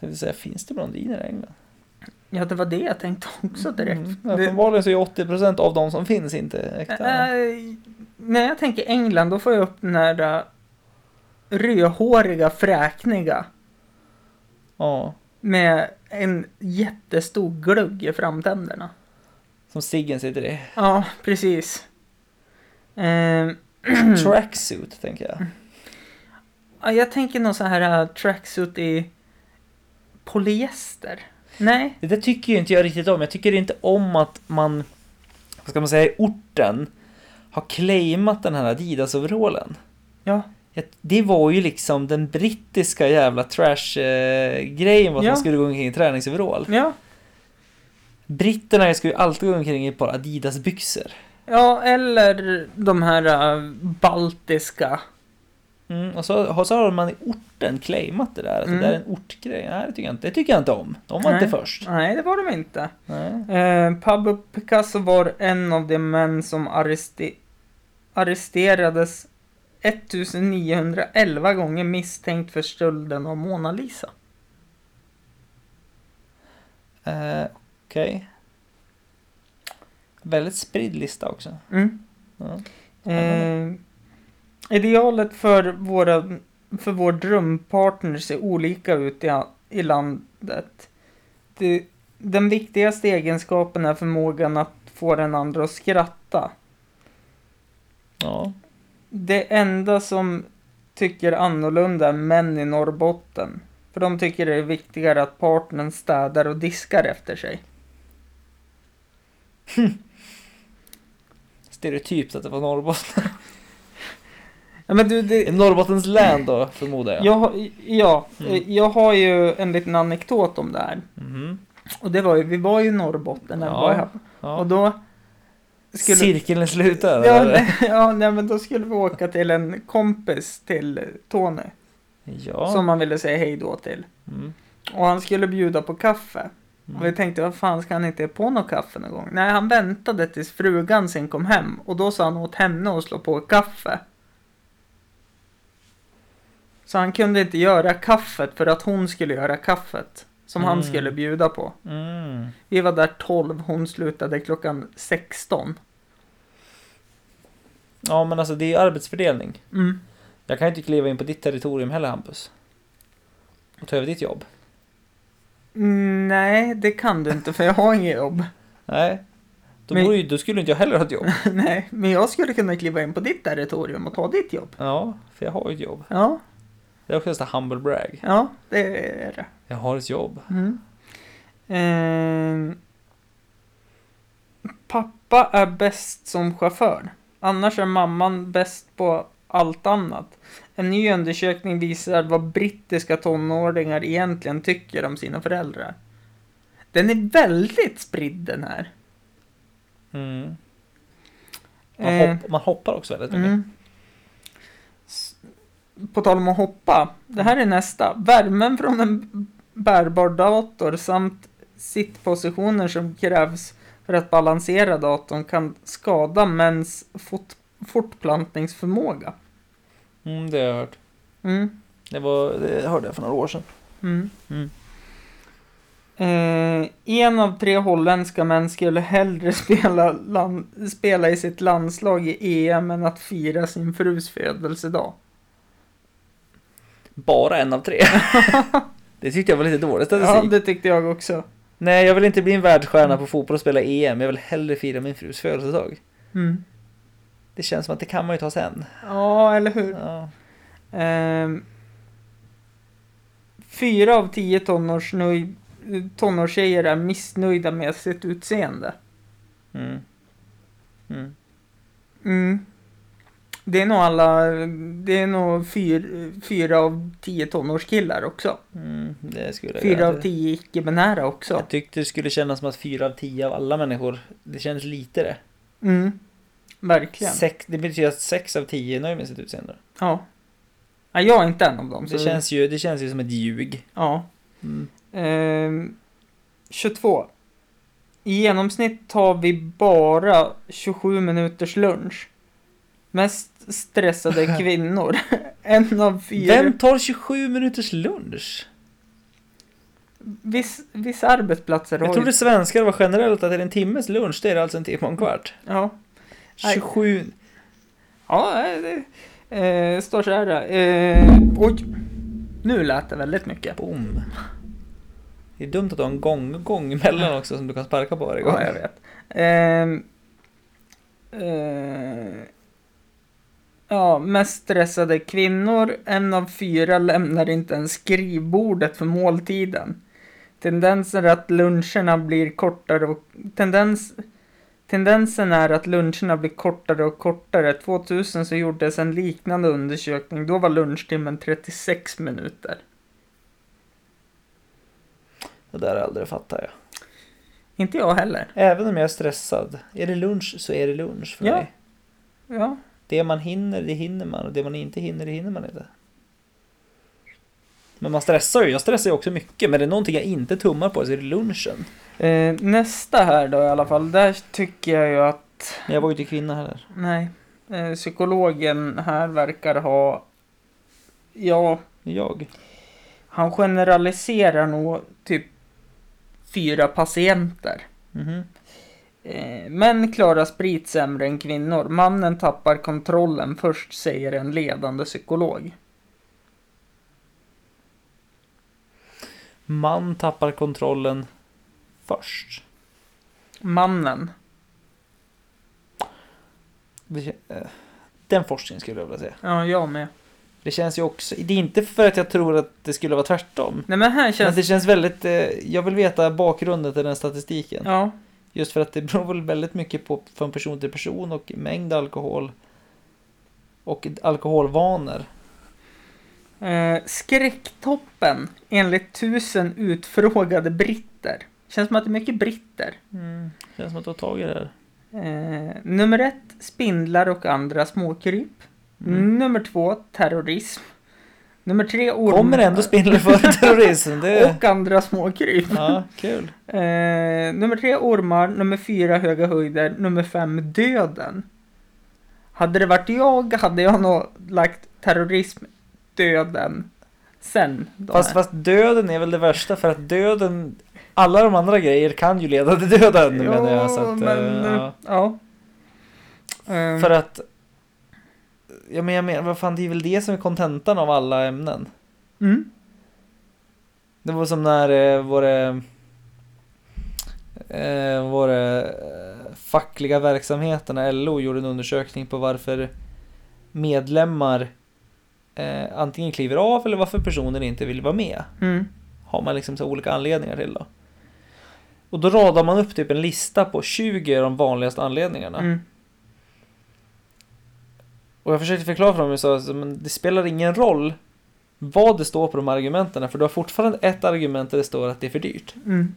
[SPEAKER 2] Det vill säga, finns det blondiner i England?
[SPEAKER 1] Ja, det var det jag tänkte också direkt.
[SPEAKER 2] Mm. Ja,
[SPEAKER 1] Det-
[SPEAKER 2] Uppenbarligen så är 80% av de som finns inte äkta.
[SPEAKER 1] Eh, när jag tänker England då får jag upp den här eh, rödhåriga fräkniga
[SPEAKER 2] Ja.
[SPEAKER 1] med en jättestor glugg i framtänderna.
[SPEAKER 2] Som Siggen sitter i.
[SPEAKER 1] Ja, precis. Ehm,
[SPEAKER 2] Tracksuit, tänker jag.
[SPEAKER 1] ja, jag tänker någon sån här eh, tracksuit i polyester. Nej.
[SPEAKER 2] Det där tycker ju inte jag riktigt om. Jag tycker inte om att man, vad ska man säga, i orten har claimat den här Adidas-overallen.
[SPEAKER 1] Ja.
[SPEAKER 2] Jag- Det var ju liksom den brittiska jävla eh, trash-grejen, vad
[SPEAKER 1] Ja.
[SPEAKER 2] man skulle gå omkring i träningsoverall.
[SPEAKER 1] Ja.
[SPEAKER 2] Britterna skulle ju alltid gå omkring i ett par Adidas-byxor.
[SPEAKER 1] Ja, eller de här eh, baltiska.
[SPEAKER 2] Mm, och så, och så har man i orten claimat det där, att
[SPEAKER 1] Mm.
[SPEAKER 2] det där är en ortgrej. Nej, det tycker jag inte, det tycker jag inte om. De var
[SPEAKER 1] Nej.
[SPEAKER 2] inte först.
[SPEAKER 1] Nej, det var de inte.
[SPEAKER 2] Nej.
[SPEAKER 1] Eh, Pablo Picasso var en av de män som arreste- arresterades 1911 gånger misstänkt för stölden av Mona Lisa.
[SPEAKER 2] Eh, Okej. Väldigt spridd lista också.
[SPEAKER 1] Mm.
[SPEAKER 2] Ja.
[SPEAKER 1] Eh, idealet för, våra, för vår drömpartner ser olika ut i, a- i landet. Det, den viktigaste egenskapen är förmågan att få den andra att skratta.
[SPEAKER 2] ja.
[SPEAKER 1] Det enda som tycker annorlunda är män i Norrbotten. För de tycker det är viktigare att partnern städar och diskar efter sig.
[SPEAKER 2] Stereotypt att det var Norrbotten.
[SPEAKER 1] Ja, men du, det,
[SPEAKER 2] Norrbottens län då, förmodar jag.
[SPEAKER 1] jag, har- ja,
[SPEAKER 2] Mm.
[SPEAKER 1] eh, jag har ju en liten anekdot om det här.
[SPEAKER 2] Mhm.
[SPEAKER 1] Och det var ju, vi var ju i Norrbotten när vi
[SPEAKER 2] Ja.
[SPEAKER 1] var här. Och
[SPEAKER 2] ja.
[SPEAKER 1] då...
[SPEAKER 2] Cirkeln är sluten.
[SPEAKER 1] ja,
[SPEAKER 2] eller?
[SPEAKER 1] nej, ja, nej, men då skulle vi åka till en kompis till Tony.
[SPEAKER 2] ja.
[SPEAKER 1] Som han ville säga hej då till.
[SPEAKER 2] Mm.
[SPEAKER 1] Och han skulle bjuda på kaffe. Och vi
[SPEAKER 2] Mm.
[SPEAKER 1] tänkte, vad fan ska han inte på något kaffe någon gång? Nej, han väntade tills frugan sen kom hem. Och då sa han åt henne att slå på kaffe. Så han kunde inte göra kaffet för att hon skulle göra kaffet. Som han
[SPEAKER 2] Mm.
[SPEAKER 1] skulle bjuda på.
[SPEAKER 2] Mm.
[SPEAKER 1] Vi var där 12, hon slutade klockan 16.
[SPEAKER 2] Ja, men alltså det är ju arbetsfördelning.
[SPEAKER 1] Mm.
[SPEAKER 2] Jag kan ju inte kliva in på ditt territorium heller, Hampus. Och ta över ditt jobb.
[SPEAKER 1] Mm, Nej, det kan du inte för jag har inget jobb.
[SPEAKER 2] Nej. Då,
[SPEAKER 1] Men-
[SPEAKER 2] vore ju, då skulle inte jag heller ha ett jobb.
[SPEAKER 1] Nej, men jag skulle kunna kliva in på ditt territorium och ta ditt jobb.
[SPEAKER 2] Ja, för jag har ju ett jobb.
[SPEAKER 1] Ja,
[SPEAKER 2] Det är också en sån här humble brag.
[SPEAKER 1] ja, det är det.
[SPEAKER 2] Jag har ett jobb.
[SPEAKER 1] Mm. Ehm, pappa är bäst som chaufför. Annars är mamman bäst på allt annat. En ny undersökning visar vad brittiska tonåringar egentligen tycker om sina föräldrar. Den är väldigt spridd den här.
[SPEAKER 2] Mm. Man,
[SPEAKER 1] Ehm,
[SPEAKER 2] hopp, man hoppar också väldigt mycket.
[SPEAKER 1] Mm. S- På tal om att hoppa. Det här är nästa. Värmen från en bärbar dator samt sittpositioner som krävs för att balansera datorn kan skada mäns fort, fortplantningsförmåga.
[SPEAKER 2] Mm, det har jag hört.
[SPEAKER 1] Mm.
[SPEAKER 2] Det, var, det hörde jag för några år sedan.
[SPEAKER 1] Mm.
[SPEAKER 2] Mm.
[SPEAKER 1] Eh, en av tre holländska män skulle hellre spela, land, spela i sitt landslag i EM än att fira sin frus födelsedag.
[SPEAKER 2] Bara en av tre. det tyckte jag var lite dålig
[SPEAKER 1] Ja,
[SPEAKER 2] statistik.
[SPEAKER 1] det tyckte jag också.
[SPEAKER 2] Nej, jag vill inte bli en världsstjärna på fotboll och spela EM. Jag vill hellre fira min frus födelsedag.
[SPEAKER 1] Mm.
[SPEAKER 2] Det känns som att det kan man ju ta sen.
[SPEAKER 1] Ja, eller hur?
[SPEAKER 2] Ja.
[SPEAKER 1] Ehm, fyra av tio tonårsnöj, tonårstjejer är missnöjda med sitt utseende.
[SPEAKER 2] Mm. Mm.
[SPEAKER 1] Mm. Det är nog alla, det är nog fyr, fyra av tio tonårskillar också.
[SPEAKER 2] Mm. Det skulle jag
[SPEAKER 1] Fyra
[SPEAKER 2] göra.
[SPEAKER 1] av tio icke-binära också.
[SPEAKER 2] Jag tyckte det skulle kännas som att fyra av tio av alla människor, det känns lite det.
[SPEAKER 1] Mm. Verkligen.
[SPEAKER 2] Sex, det betyder att sex av tio är nöjda med sitt utseende.
[SPEAKER 1] Ja. ja. Jag är inte en av dem.
[SPEAKER 2] Det
[SPEAKER 1] så- Mm,
[SPEAKER 2] känns ju, det känns ju som ett ljug.
[SPEAKER 1] Ja. Ehm, 22. I genomsnitt tar vi bara 27 minuters lunch. Mest stressade är kvinnor. en av fyra.
[SPEAKER 2] Vem tar 27 minuters lunch?
[SPEAKER 1] Viss, vissa arbetsplatser
[SPEAKER 2] Jag
[SPEAKER 1] har
[SPEAKER 2] trodde
[SPEAKER 1] ju...
[SPEAKER 2] svenskar var generellt att är det en timmes lunch, det är det alltså en timme och en kvart.
[SPEAKER 1] Ja. Nej.
[SPEAKER 2] 27...
[SPEAKER 1] Ja, eh, det eh, står så här. Eh, oj. Nu lät det väldigt mycket.
[SPEAKER 2] Boom. Det är dumt att du har en gång, gång emellan också som du kan sparka på varje gång.
[SPEAKER 1] Ja, jag vet. Ehm, eh, ja, mest stressade kvinnor. En av fyra lämnar inte ens skrivbordet för måltiden. Tendensen är att luncherna blir kortare och... Tendens, tendensen är att luncherna blir kortare och kortare. 2000 så gjordes en liknande undersökning. Då var lunchtimmen 36 minuter.
[SPEAKER 2] Det där aldrig fattar jag.
[SPEAKER 1] Inte jag heller.
[SPEAKER 2] Även om jag är stressad. Är det lunch så är det lunch för
[SPEAKER 1] Ja.
[SPEAKER 2] mig.
[SPEAKER 1] Ja.
[SPEAKER 2] Det man hinner, det hinner man. Och det man inte hinner, det hinner man inte. Men man stressar ju. Jag stressar ju också mycket. Men det är någonting jag inte tummar på så är det lunchen.
[SPEAKER 1] Eh, nästa här då i alla fall. Där tycker jag ju att
[SPEAKER 2] Men jag var ju inte kvinna heller.
[SPEAKER 1] Nej. Eh, Psykologen här verkar ha... Ja,
[SPEAKER 2] Jag.
[SPEAKER 1] han generaliserar nog typ fyra patienter.
[SPEAKER 2] Mhm.
[SPEAKER 1] Eh, Män klarar sprit sämre än kvinnor. Mannen tappar kontrollen först, säger en ledande psykolog.
[SPEAKER 2] Man tappar kontrollen först.
[SPEAKER 1] Mannen.
[SPEAKER 2] Det kän- eh, Den forskningen skulle jag vilja se.
[SPEAKER 1] Ja, jag med.
[SPEAKER 2] Det känns ju också... Det är inte för att jag tror att det skulle vara tvärtom.
[SPEAKER 1] Nej, men här
[SPEAKER 2] Men
[SPEAKER 1] känns...
[SPEAKER 2] det känns väldigt... eh, Jag vill veta bakgrunden till den statistiken.
[SPEAKER 1] Ja.
[SPEAKER 2] Just för att det beror väl väldigt mycket på från person till person och mängd alkohol. Och alkoholvanor.
[SPEAKER 1] Eh, Skräcktoppen, enligt tusen utfrågade britter. Känns som att det är mycket britter.
[SPEAKER 2] Känns som att du har tagit Mm, det här.
[SPEAKER 1] Eh, nummer ett, spindlar och andra småkryp.
[SPEAKER 2] Mm.
[SPEAKER 1] Nummer två, terrorism. Nummer tre, ormar.
[SPEAKER 2] Kommer det ändå spindlar före terrorism? Det...
[SPEAKER 1] Och andra småkryp.
[SPEAKER 2] Ja, kul.
[SPEAKER 1] Eh, nummer tre, ormar. Nummer fyra, höga höjder. Nummer fem, döden. Hade det varit jag hade jag nog lagt terrorism, döden, sen. de
[SPEAKER 2] Fast,
[SPEAKER 1] här.
[SPEAKER 2] fast döden är väl det värsta för att döden... Alla de andra grejer kan ju leda till döden
[SPEAKER 1] Jo,
[SPEAKER 2] menar jag. Så att, eh,
[SPEAKER 1] men, eh,
[SPEAKER 2] ja.
[SPEAKER 1] ja. Eh,
[SPEAKER 2] För att... Ja men jag menar, vad fan det är väl det som är kontentan av alla ämnen.
[SPEAKER 1] mm,
[SPEAKER 2] Det var som när eh, våra, eh, våra eh, fackliga verksamheterna, LO, gjorde en undersökning på varför medlemmar eh, antingen kliver av eller varför personen inte vill vara med.
[SPEAKER 1] mm,
[SPEAKER 2] Har man liksom så olika anledningar till då. Och då radar man upp typ en lista på 20 av de vanligaste anledningarna.
[SPEAKER 1] mm,
[SPEAKER 2] Och jag försökte förklara för dem och sa alltså, men det spelar ingen roll vad det står på de argumenten för du har fortfarande ett argument där det står att det är för dyrt.
[SPEAKER 1] mm.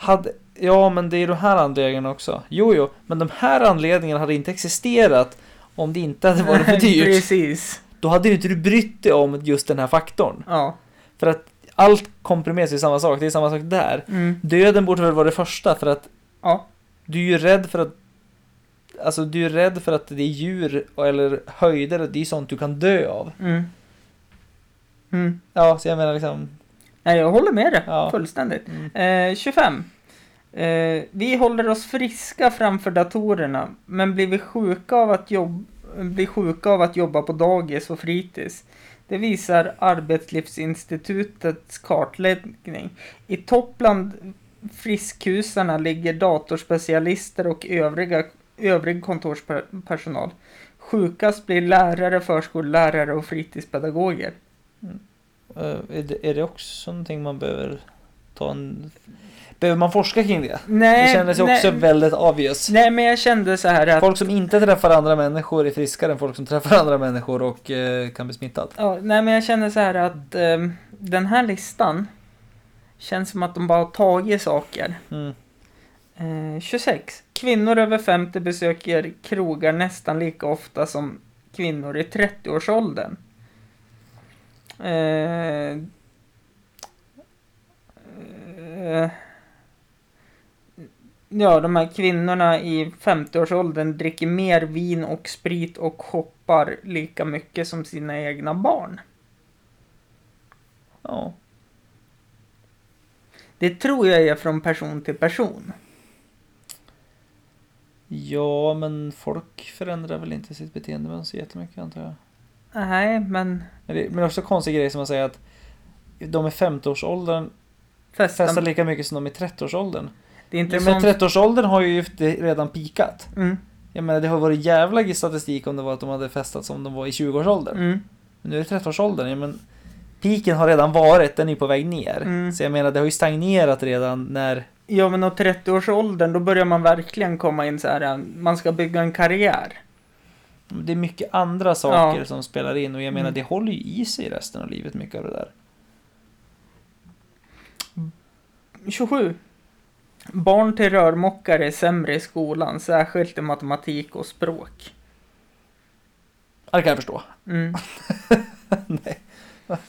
[SPEAKER 2] Hade, ja, men det är de här anledningarna också. Jo, jo, men de här anledningarna hade inte existerat om det inte hade varit för dyrt.
[SPEAKER 1] Precis.
[SPEAKER 2] Då hade ju inte du brytt dig om just den här faktorn.
[SPEAKER 1] Ja.
[SPEAKER 2] För att allt komprimeras i samma sak, det är samma sak där.
[SPEAKER 1] Mm.
[SPEAKER 2] Döden borde väl vara det första för att
[SPEAKER 1] Ja.
[SPEAKER 2] du är ju rädd för att Alltså du är rädd för att det är djur eller höjder, det är ju sånt du kan dö av.
[SPEAKER 1] Mm. Mm.
[SPEAKER 2] Ja, så jag menar liksom...
[SPEAKER 1] Nej, jag håller med dig
[SPEAKER 2] Ja.
[SPEAKER 1] fullständigt.
[SPEAKER 2] Mm.
[SPEAKER 1] Eh, 25. Eh, vi håller oss friska framför datorerna, men blir vi sjuka av att, jobb- blir sjuka av att jobba på dagis och fritids? Det visar Arbetslivsinstitutets kartläggning. I topp bland friskhusarna ligger datorspecialister och övriga, övrig kontorspersonal. Sjukast blir lärare, förskollärare och fritidspedagoger.
[SPEAKER 2] Eh, är, det, är det också någonting man behöver ta en... Behöver man forska kring det?
[SPEAKER 1] Nej,
[SPEAKER 2] det kändes ju
[SPEAKER 1] nej,
[SPEAKER 2] också väldigt obvious.
[SPEAKER 1] Nej, men jag kände så här att...
[SPEAKER 2] Folk som inte träffar andra människor är friskare än folk som träffar andra människor och eh, kan bli smittad.
[SPEAKER 1] Ja, nej, men jag känner så här att ehm, den här listan känns som att de bara har tagit saker.
[SPEAKER 2] Mm.
[SPEAKER 1] Eh, 26. Kvinnor över 50 besöker krogar nästan lika ofta som kvinnor i 30-årsåldern. Eh, eh, ja, de här kvinnorna i 50-årsåldern dricker mer vin och sprit och shoppar lika mycket som sina egna barn.
[SPEAKER 2] Ja.
[SPEAKER 1] Det tror jag är från person till person.
[SPEAKER 2] ja, men folk förändrar väl inte sitt beteendemönster jättemycket antar jag.
[SPEAKER 1] Nej, men...
[SPEAKER 2] Men det men det är också en konstig grej som man säger att de i 50-årsåldern
[SPEAKER 1] Festa.
[SPEAKER 2] Festar lika mycket som de i 30-årsåldern.
[SPEAKER 1] Det är inte
[SPEAKER 2] Ja, men
[SPEAKER 1] sånt...
[SPEAKER 2] 30-årsåldern har ju redan pikat.
[SPEAKER 1] Mm,
[SPEAKER 2] Jag menar det har varit jävla statistik om det var att de hade festat som de var i 20-årsåldern.
[SPEAKER 1] mm.
[SPEAKER 2] Men nu är det 30-årsåldern, ja, men piken har redan varit, den är på väg ner.
[SPEAKER 1] Mm.
[SPEAKER 2] Så jag menar det har ju stagnerat redan när...
[SPEAKER 1] Ja men och 30-årsåldern då börjar man verkligen komma in så här. äh, Man ska bygga en karriär.
[SPEAKER 2] Det är mycket andra saker
[SPEAKER 1] Ja.
[SPEAKER 2] som spelar in och jag menar
[SPEAKER 1] Mm.
[SPEAKER 2] det håller ju i sig resten av livet mycket av det där.
[SPEAKER 1] 27. Barn till rörmokare är sämre i skolan, särskilt i matematik och språk.
[SPEAKER 2] Ja, det kan jag förstå.
[SPEAKER 1] Mm.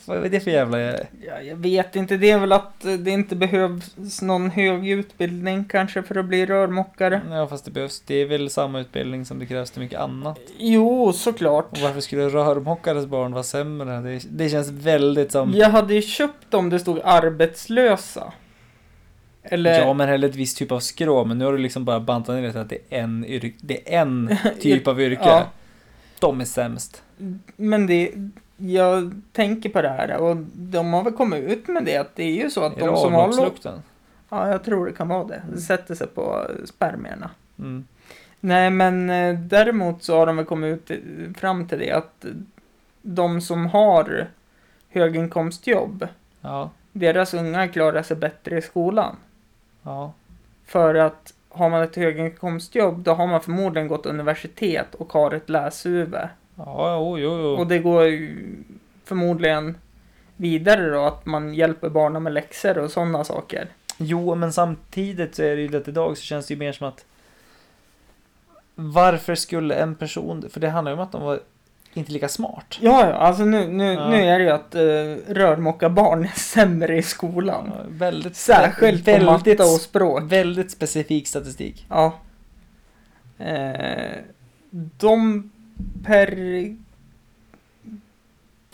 [SPEAKER 2] Vad är det för jävla...
[SPEAKER 1] Ja, jag vet inte, det är väl att eh, det inte behövs någon hög utbildning kanske för att bli rörmokare.
[SPEAKER 2] Ja fast det behövs, det är väl samma utbildning som det krävs till mycket annat.
[SPEAKER 1] Jo, såklart.
[SPEAKER 2] Och varför skulle rörmokares barn vara sämre? Det, det känns väldigt som...
[SPEAKER 1] Jag hade ju köpt om det stod arbetslösa. Eller
[SPEAKER 2] Ja men hellre ett visst typ av skrå, men nu har du liksom bara bantat ner det till att det är en, yrk, det är en typ av yrke.
[SPEAKER 1] Ja.
[SPEAKER 2] De är sämst.
[SPEAKER 1] Men det, jag tänker på det här och de har väl kommit ut med det att det är ju så att
[SPEAKER 2] Är det
[SPEAKER 1] de som har låg...
[SPEAKER 2] avloppslukten?
[SPEAKER 1] Ja, jag tror det kan vara det.
[SPEAKER 2] Mm.
[SPEAKER 1] Det sätter sig på eh, spermierna.
[SPEAKER 2] Mm.
[SPEAKER 1] Nej, men eh, däremot så har de väl kommit ut eh, fram till det att eh, de som har höginkomstjobb,
[SPEAKER 2] Ja,
[SPEAKER 1] deras unga klarar sig bättre i skolan.
[SPEAKER 2] ja.
[SPEAKER 1] För att har man ett höginkomstjobb, då har man förmodligen gått universitet och har ett läshuvud.
[SPEAKER 2] Mm. Ja, jo, jo,
[SPEAKER 1] Och
[SPEAKER 2] jo.
[SPEAKER 1] det går ju förmodligen vidare då, att man hjälper barnen med läxor och sådana saker.
[SPEAKER 2] Jo, men samtidigt så är det ju att idag så känns det ju mer som att varför skulle en person, för det handlar ju om att de var inte lika smart.
[SPEAKER 1] Ja, ja, alltså nu, nu,
[SPEAKER 2] Ja.
[SPEAKER 1] nu är det ju att uh, rörmokarbarn är sämre i skolan.
[SPEAKER 2] Ja, Väldigt,
[SPEAKER 1] Särskilt på matte
[SPEAKER 2] väldigt,
[SPEAKER 1] och språk.
[SPEAKER 2] väldigt specifik statistik.
[SPEAKER 1] Ja. Eh, de per...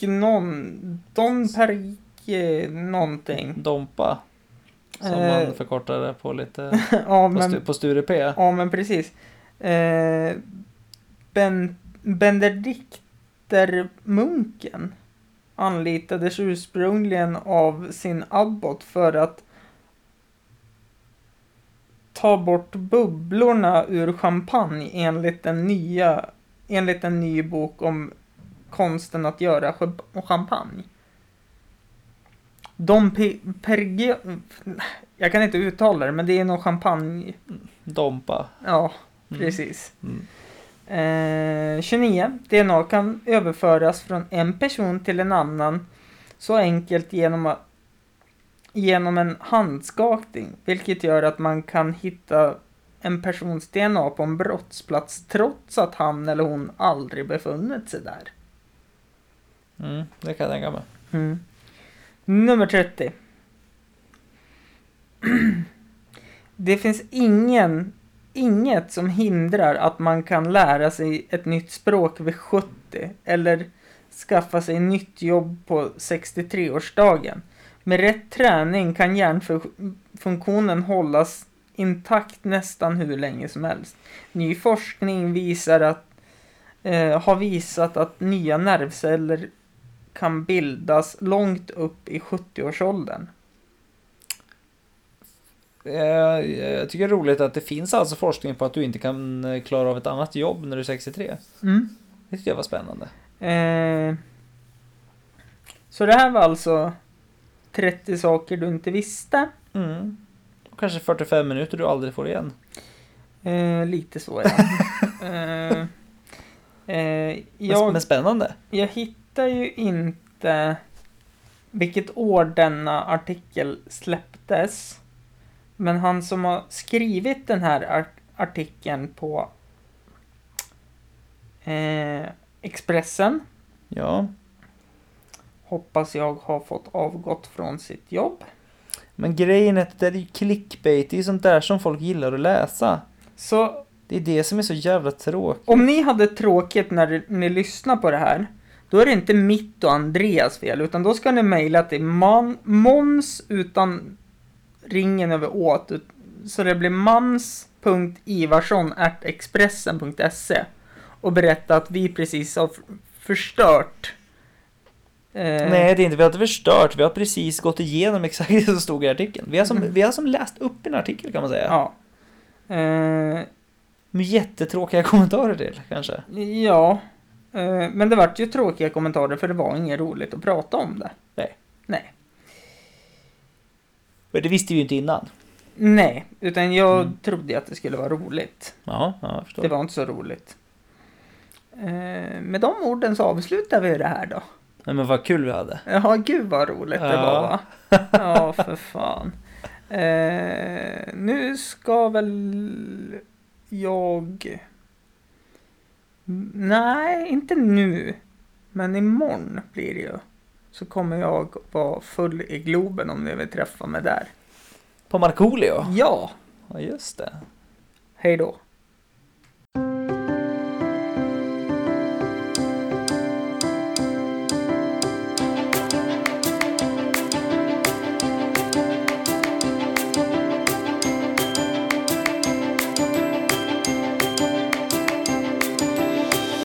[SPEAKER 1] Gnon... De per... eh, Någonting.
[SPEAKER 2] Dompa. Som
[SPEAKER 1] Eh.
[SPEAKER 2] man förkortar det på lite,
[SPEAKER 1] ja,
[SPEAKER 2] på, stu,
[SPEAKER 1] men,
[SPEAKER 2] på Sture P.
[SPEAKER 1] ja, men precis. Eh, ben, Benediktermunken anlitades ursprungligen av sin abbot för att ta bort bubblorna ur champagne enligt den nya enligt en ny bok om konsten att göra chab- champagne. De pe- perge... Jag kan inte uttala det, men det är någon champagne...
[SPEAKER 2] Dompa.
[SPEAKER 1] Ja,
[SPEAKER 2] Mm.
[SPEAKER 1] precis.
[SPEAKER 2] Mm.
[SPEAKER 1] Eh, 29. DNA kan överföras från en person till en annan så enkelt genom, att- genom en handskakning, vilket gör att man kan hitta en persons DNA på en brottsplats trots att han eller hon aldrig befunnit sig där.
[SPEAKER 2] Mm, det kan jag tänka mig.
[SPEAKER 1] Mm. Nummer 30. Det finns ingen, inget som hindrar att man kan lära sig ett nytt språk vid 70 eller skaffa sig nytt jobb på 63-årsdagen. Med rätt träning kan hjärnfunktionen hållas intakt nästan hur länge som helst. Ny forskning visar att, eh, har visat att nya nervceller kan bildas långt upp i 70-årsåldern.
[SPEAKER 2] Eh, Jag tycker det är roligt att det finns alltså forskning på att du inte kan eh, klara av ett annat jobb när du är 63. Det tyckte jag var spännande.
[SPEAKER 1] Eh, så det här var alltså 30 saker du inte visste.
[SPEAKER 2] Mm. Och kanske 45 minuter du aldrig får igen.
[SPEAKER 1] Eh, lite så ja. eh, eh,
[SPEAKER 2] Men-
[SPEAKER 1] jag,
[SPEAKER 2] Men spännande.
[SPEAKER 1] jag hittar ju inte vilket år denna artikel släpptes. Men han som har skrivit den här ar- artikeln på eh, Expressen
[SPEAKER 2] Ja.
[SPEAKER 1] hoppas jag har fått avgått från sitt jobb.
[SPEAKER 2] Men grejen är att det där är ju clickbait, det är ju sånt där som folk gillar att läsa.
[SPEAKER 1] Så
[SPEAKER 2] Det är det som är så jävla tråkigt.
[SPEAKER 1] om ni hade tråkigt när ni lyssnar på det här, då är det inte mitt och Andreas fel, utan då ska ni mejla till man, mons utan ringen över åt, ut- så det blir mans.ivarsson.expressen.se och berätta att vi precis har f- förstört Eh,
[SPEAKER 2] Nej, det är inte. Vi har inte förstört. Vi har precis gått igenom exakt det som stod i artikeln. Vi har som,
[SPEAKER 1] Mm.
[SPEAKER 2] vi har som läst upp en artikel kan man säga.
[SPEAKER 1] Ja. Eh,
[SPEAKER 2] Med jättetråkiga kommentarer till kanske.
[SPEAKER 1] ja. Eh, men det vart ju tråkiga kommentarer för det var inget roligt att prata om det.
[SPEAKER 2] Nej.
[SPEAKER 1] Nej.
[SPEAKER 2] Men det visste vi ju inte innan.
[SPEAKER 1] Nej, utan jag
[SPEAKER 2] Mm.
[SPEAKER 1] trodde ju att det skulle vara roligt.
[SPEAKER 2] Ja, ja jag förstår.
[SPEAKER 1] Det var inte så roligt. Eh, med de orden så avslutar vi det här då.
[SPEAKER 2] Nej, men vad kul vi hade.
[SPEAKER 1] Ja, gud vad roligt det
[SPEAKER 2] Ja.
[SPEAKER 1] var va? Ja, för fan. Eh, nu ska väl jag... Nej, inte nu. Men imorgon blir det ju. Så kommer jag vara full i Globen om ni vill träffa mig där.
[SPEAKER 2] På Markoolio.
[SPEAKER 1] Ja,
[SPEAKER 2] Ja, just det.
[SPEAKER 1] hej då.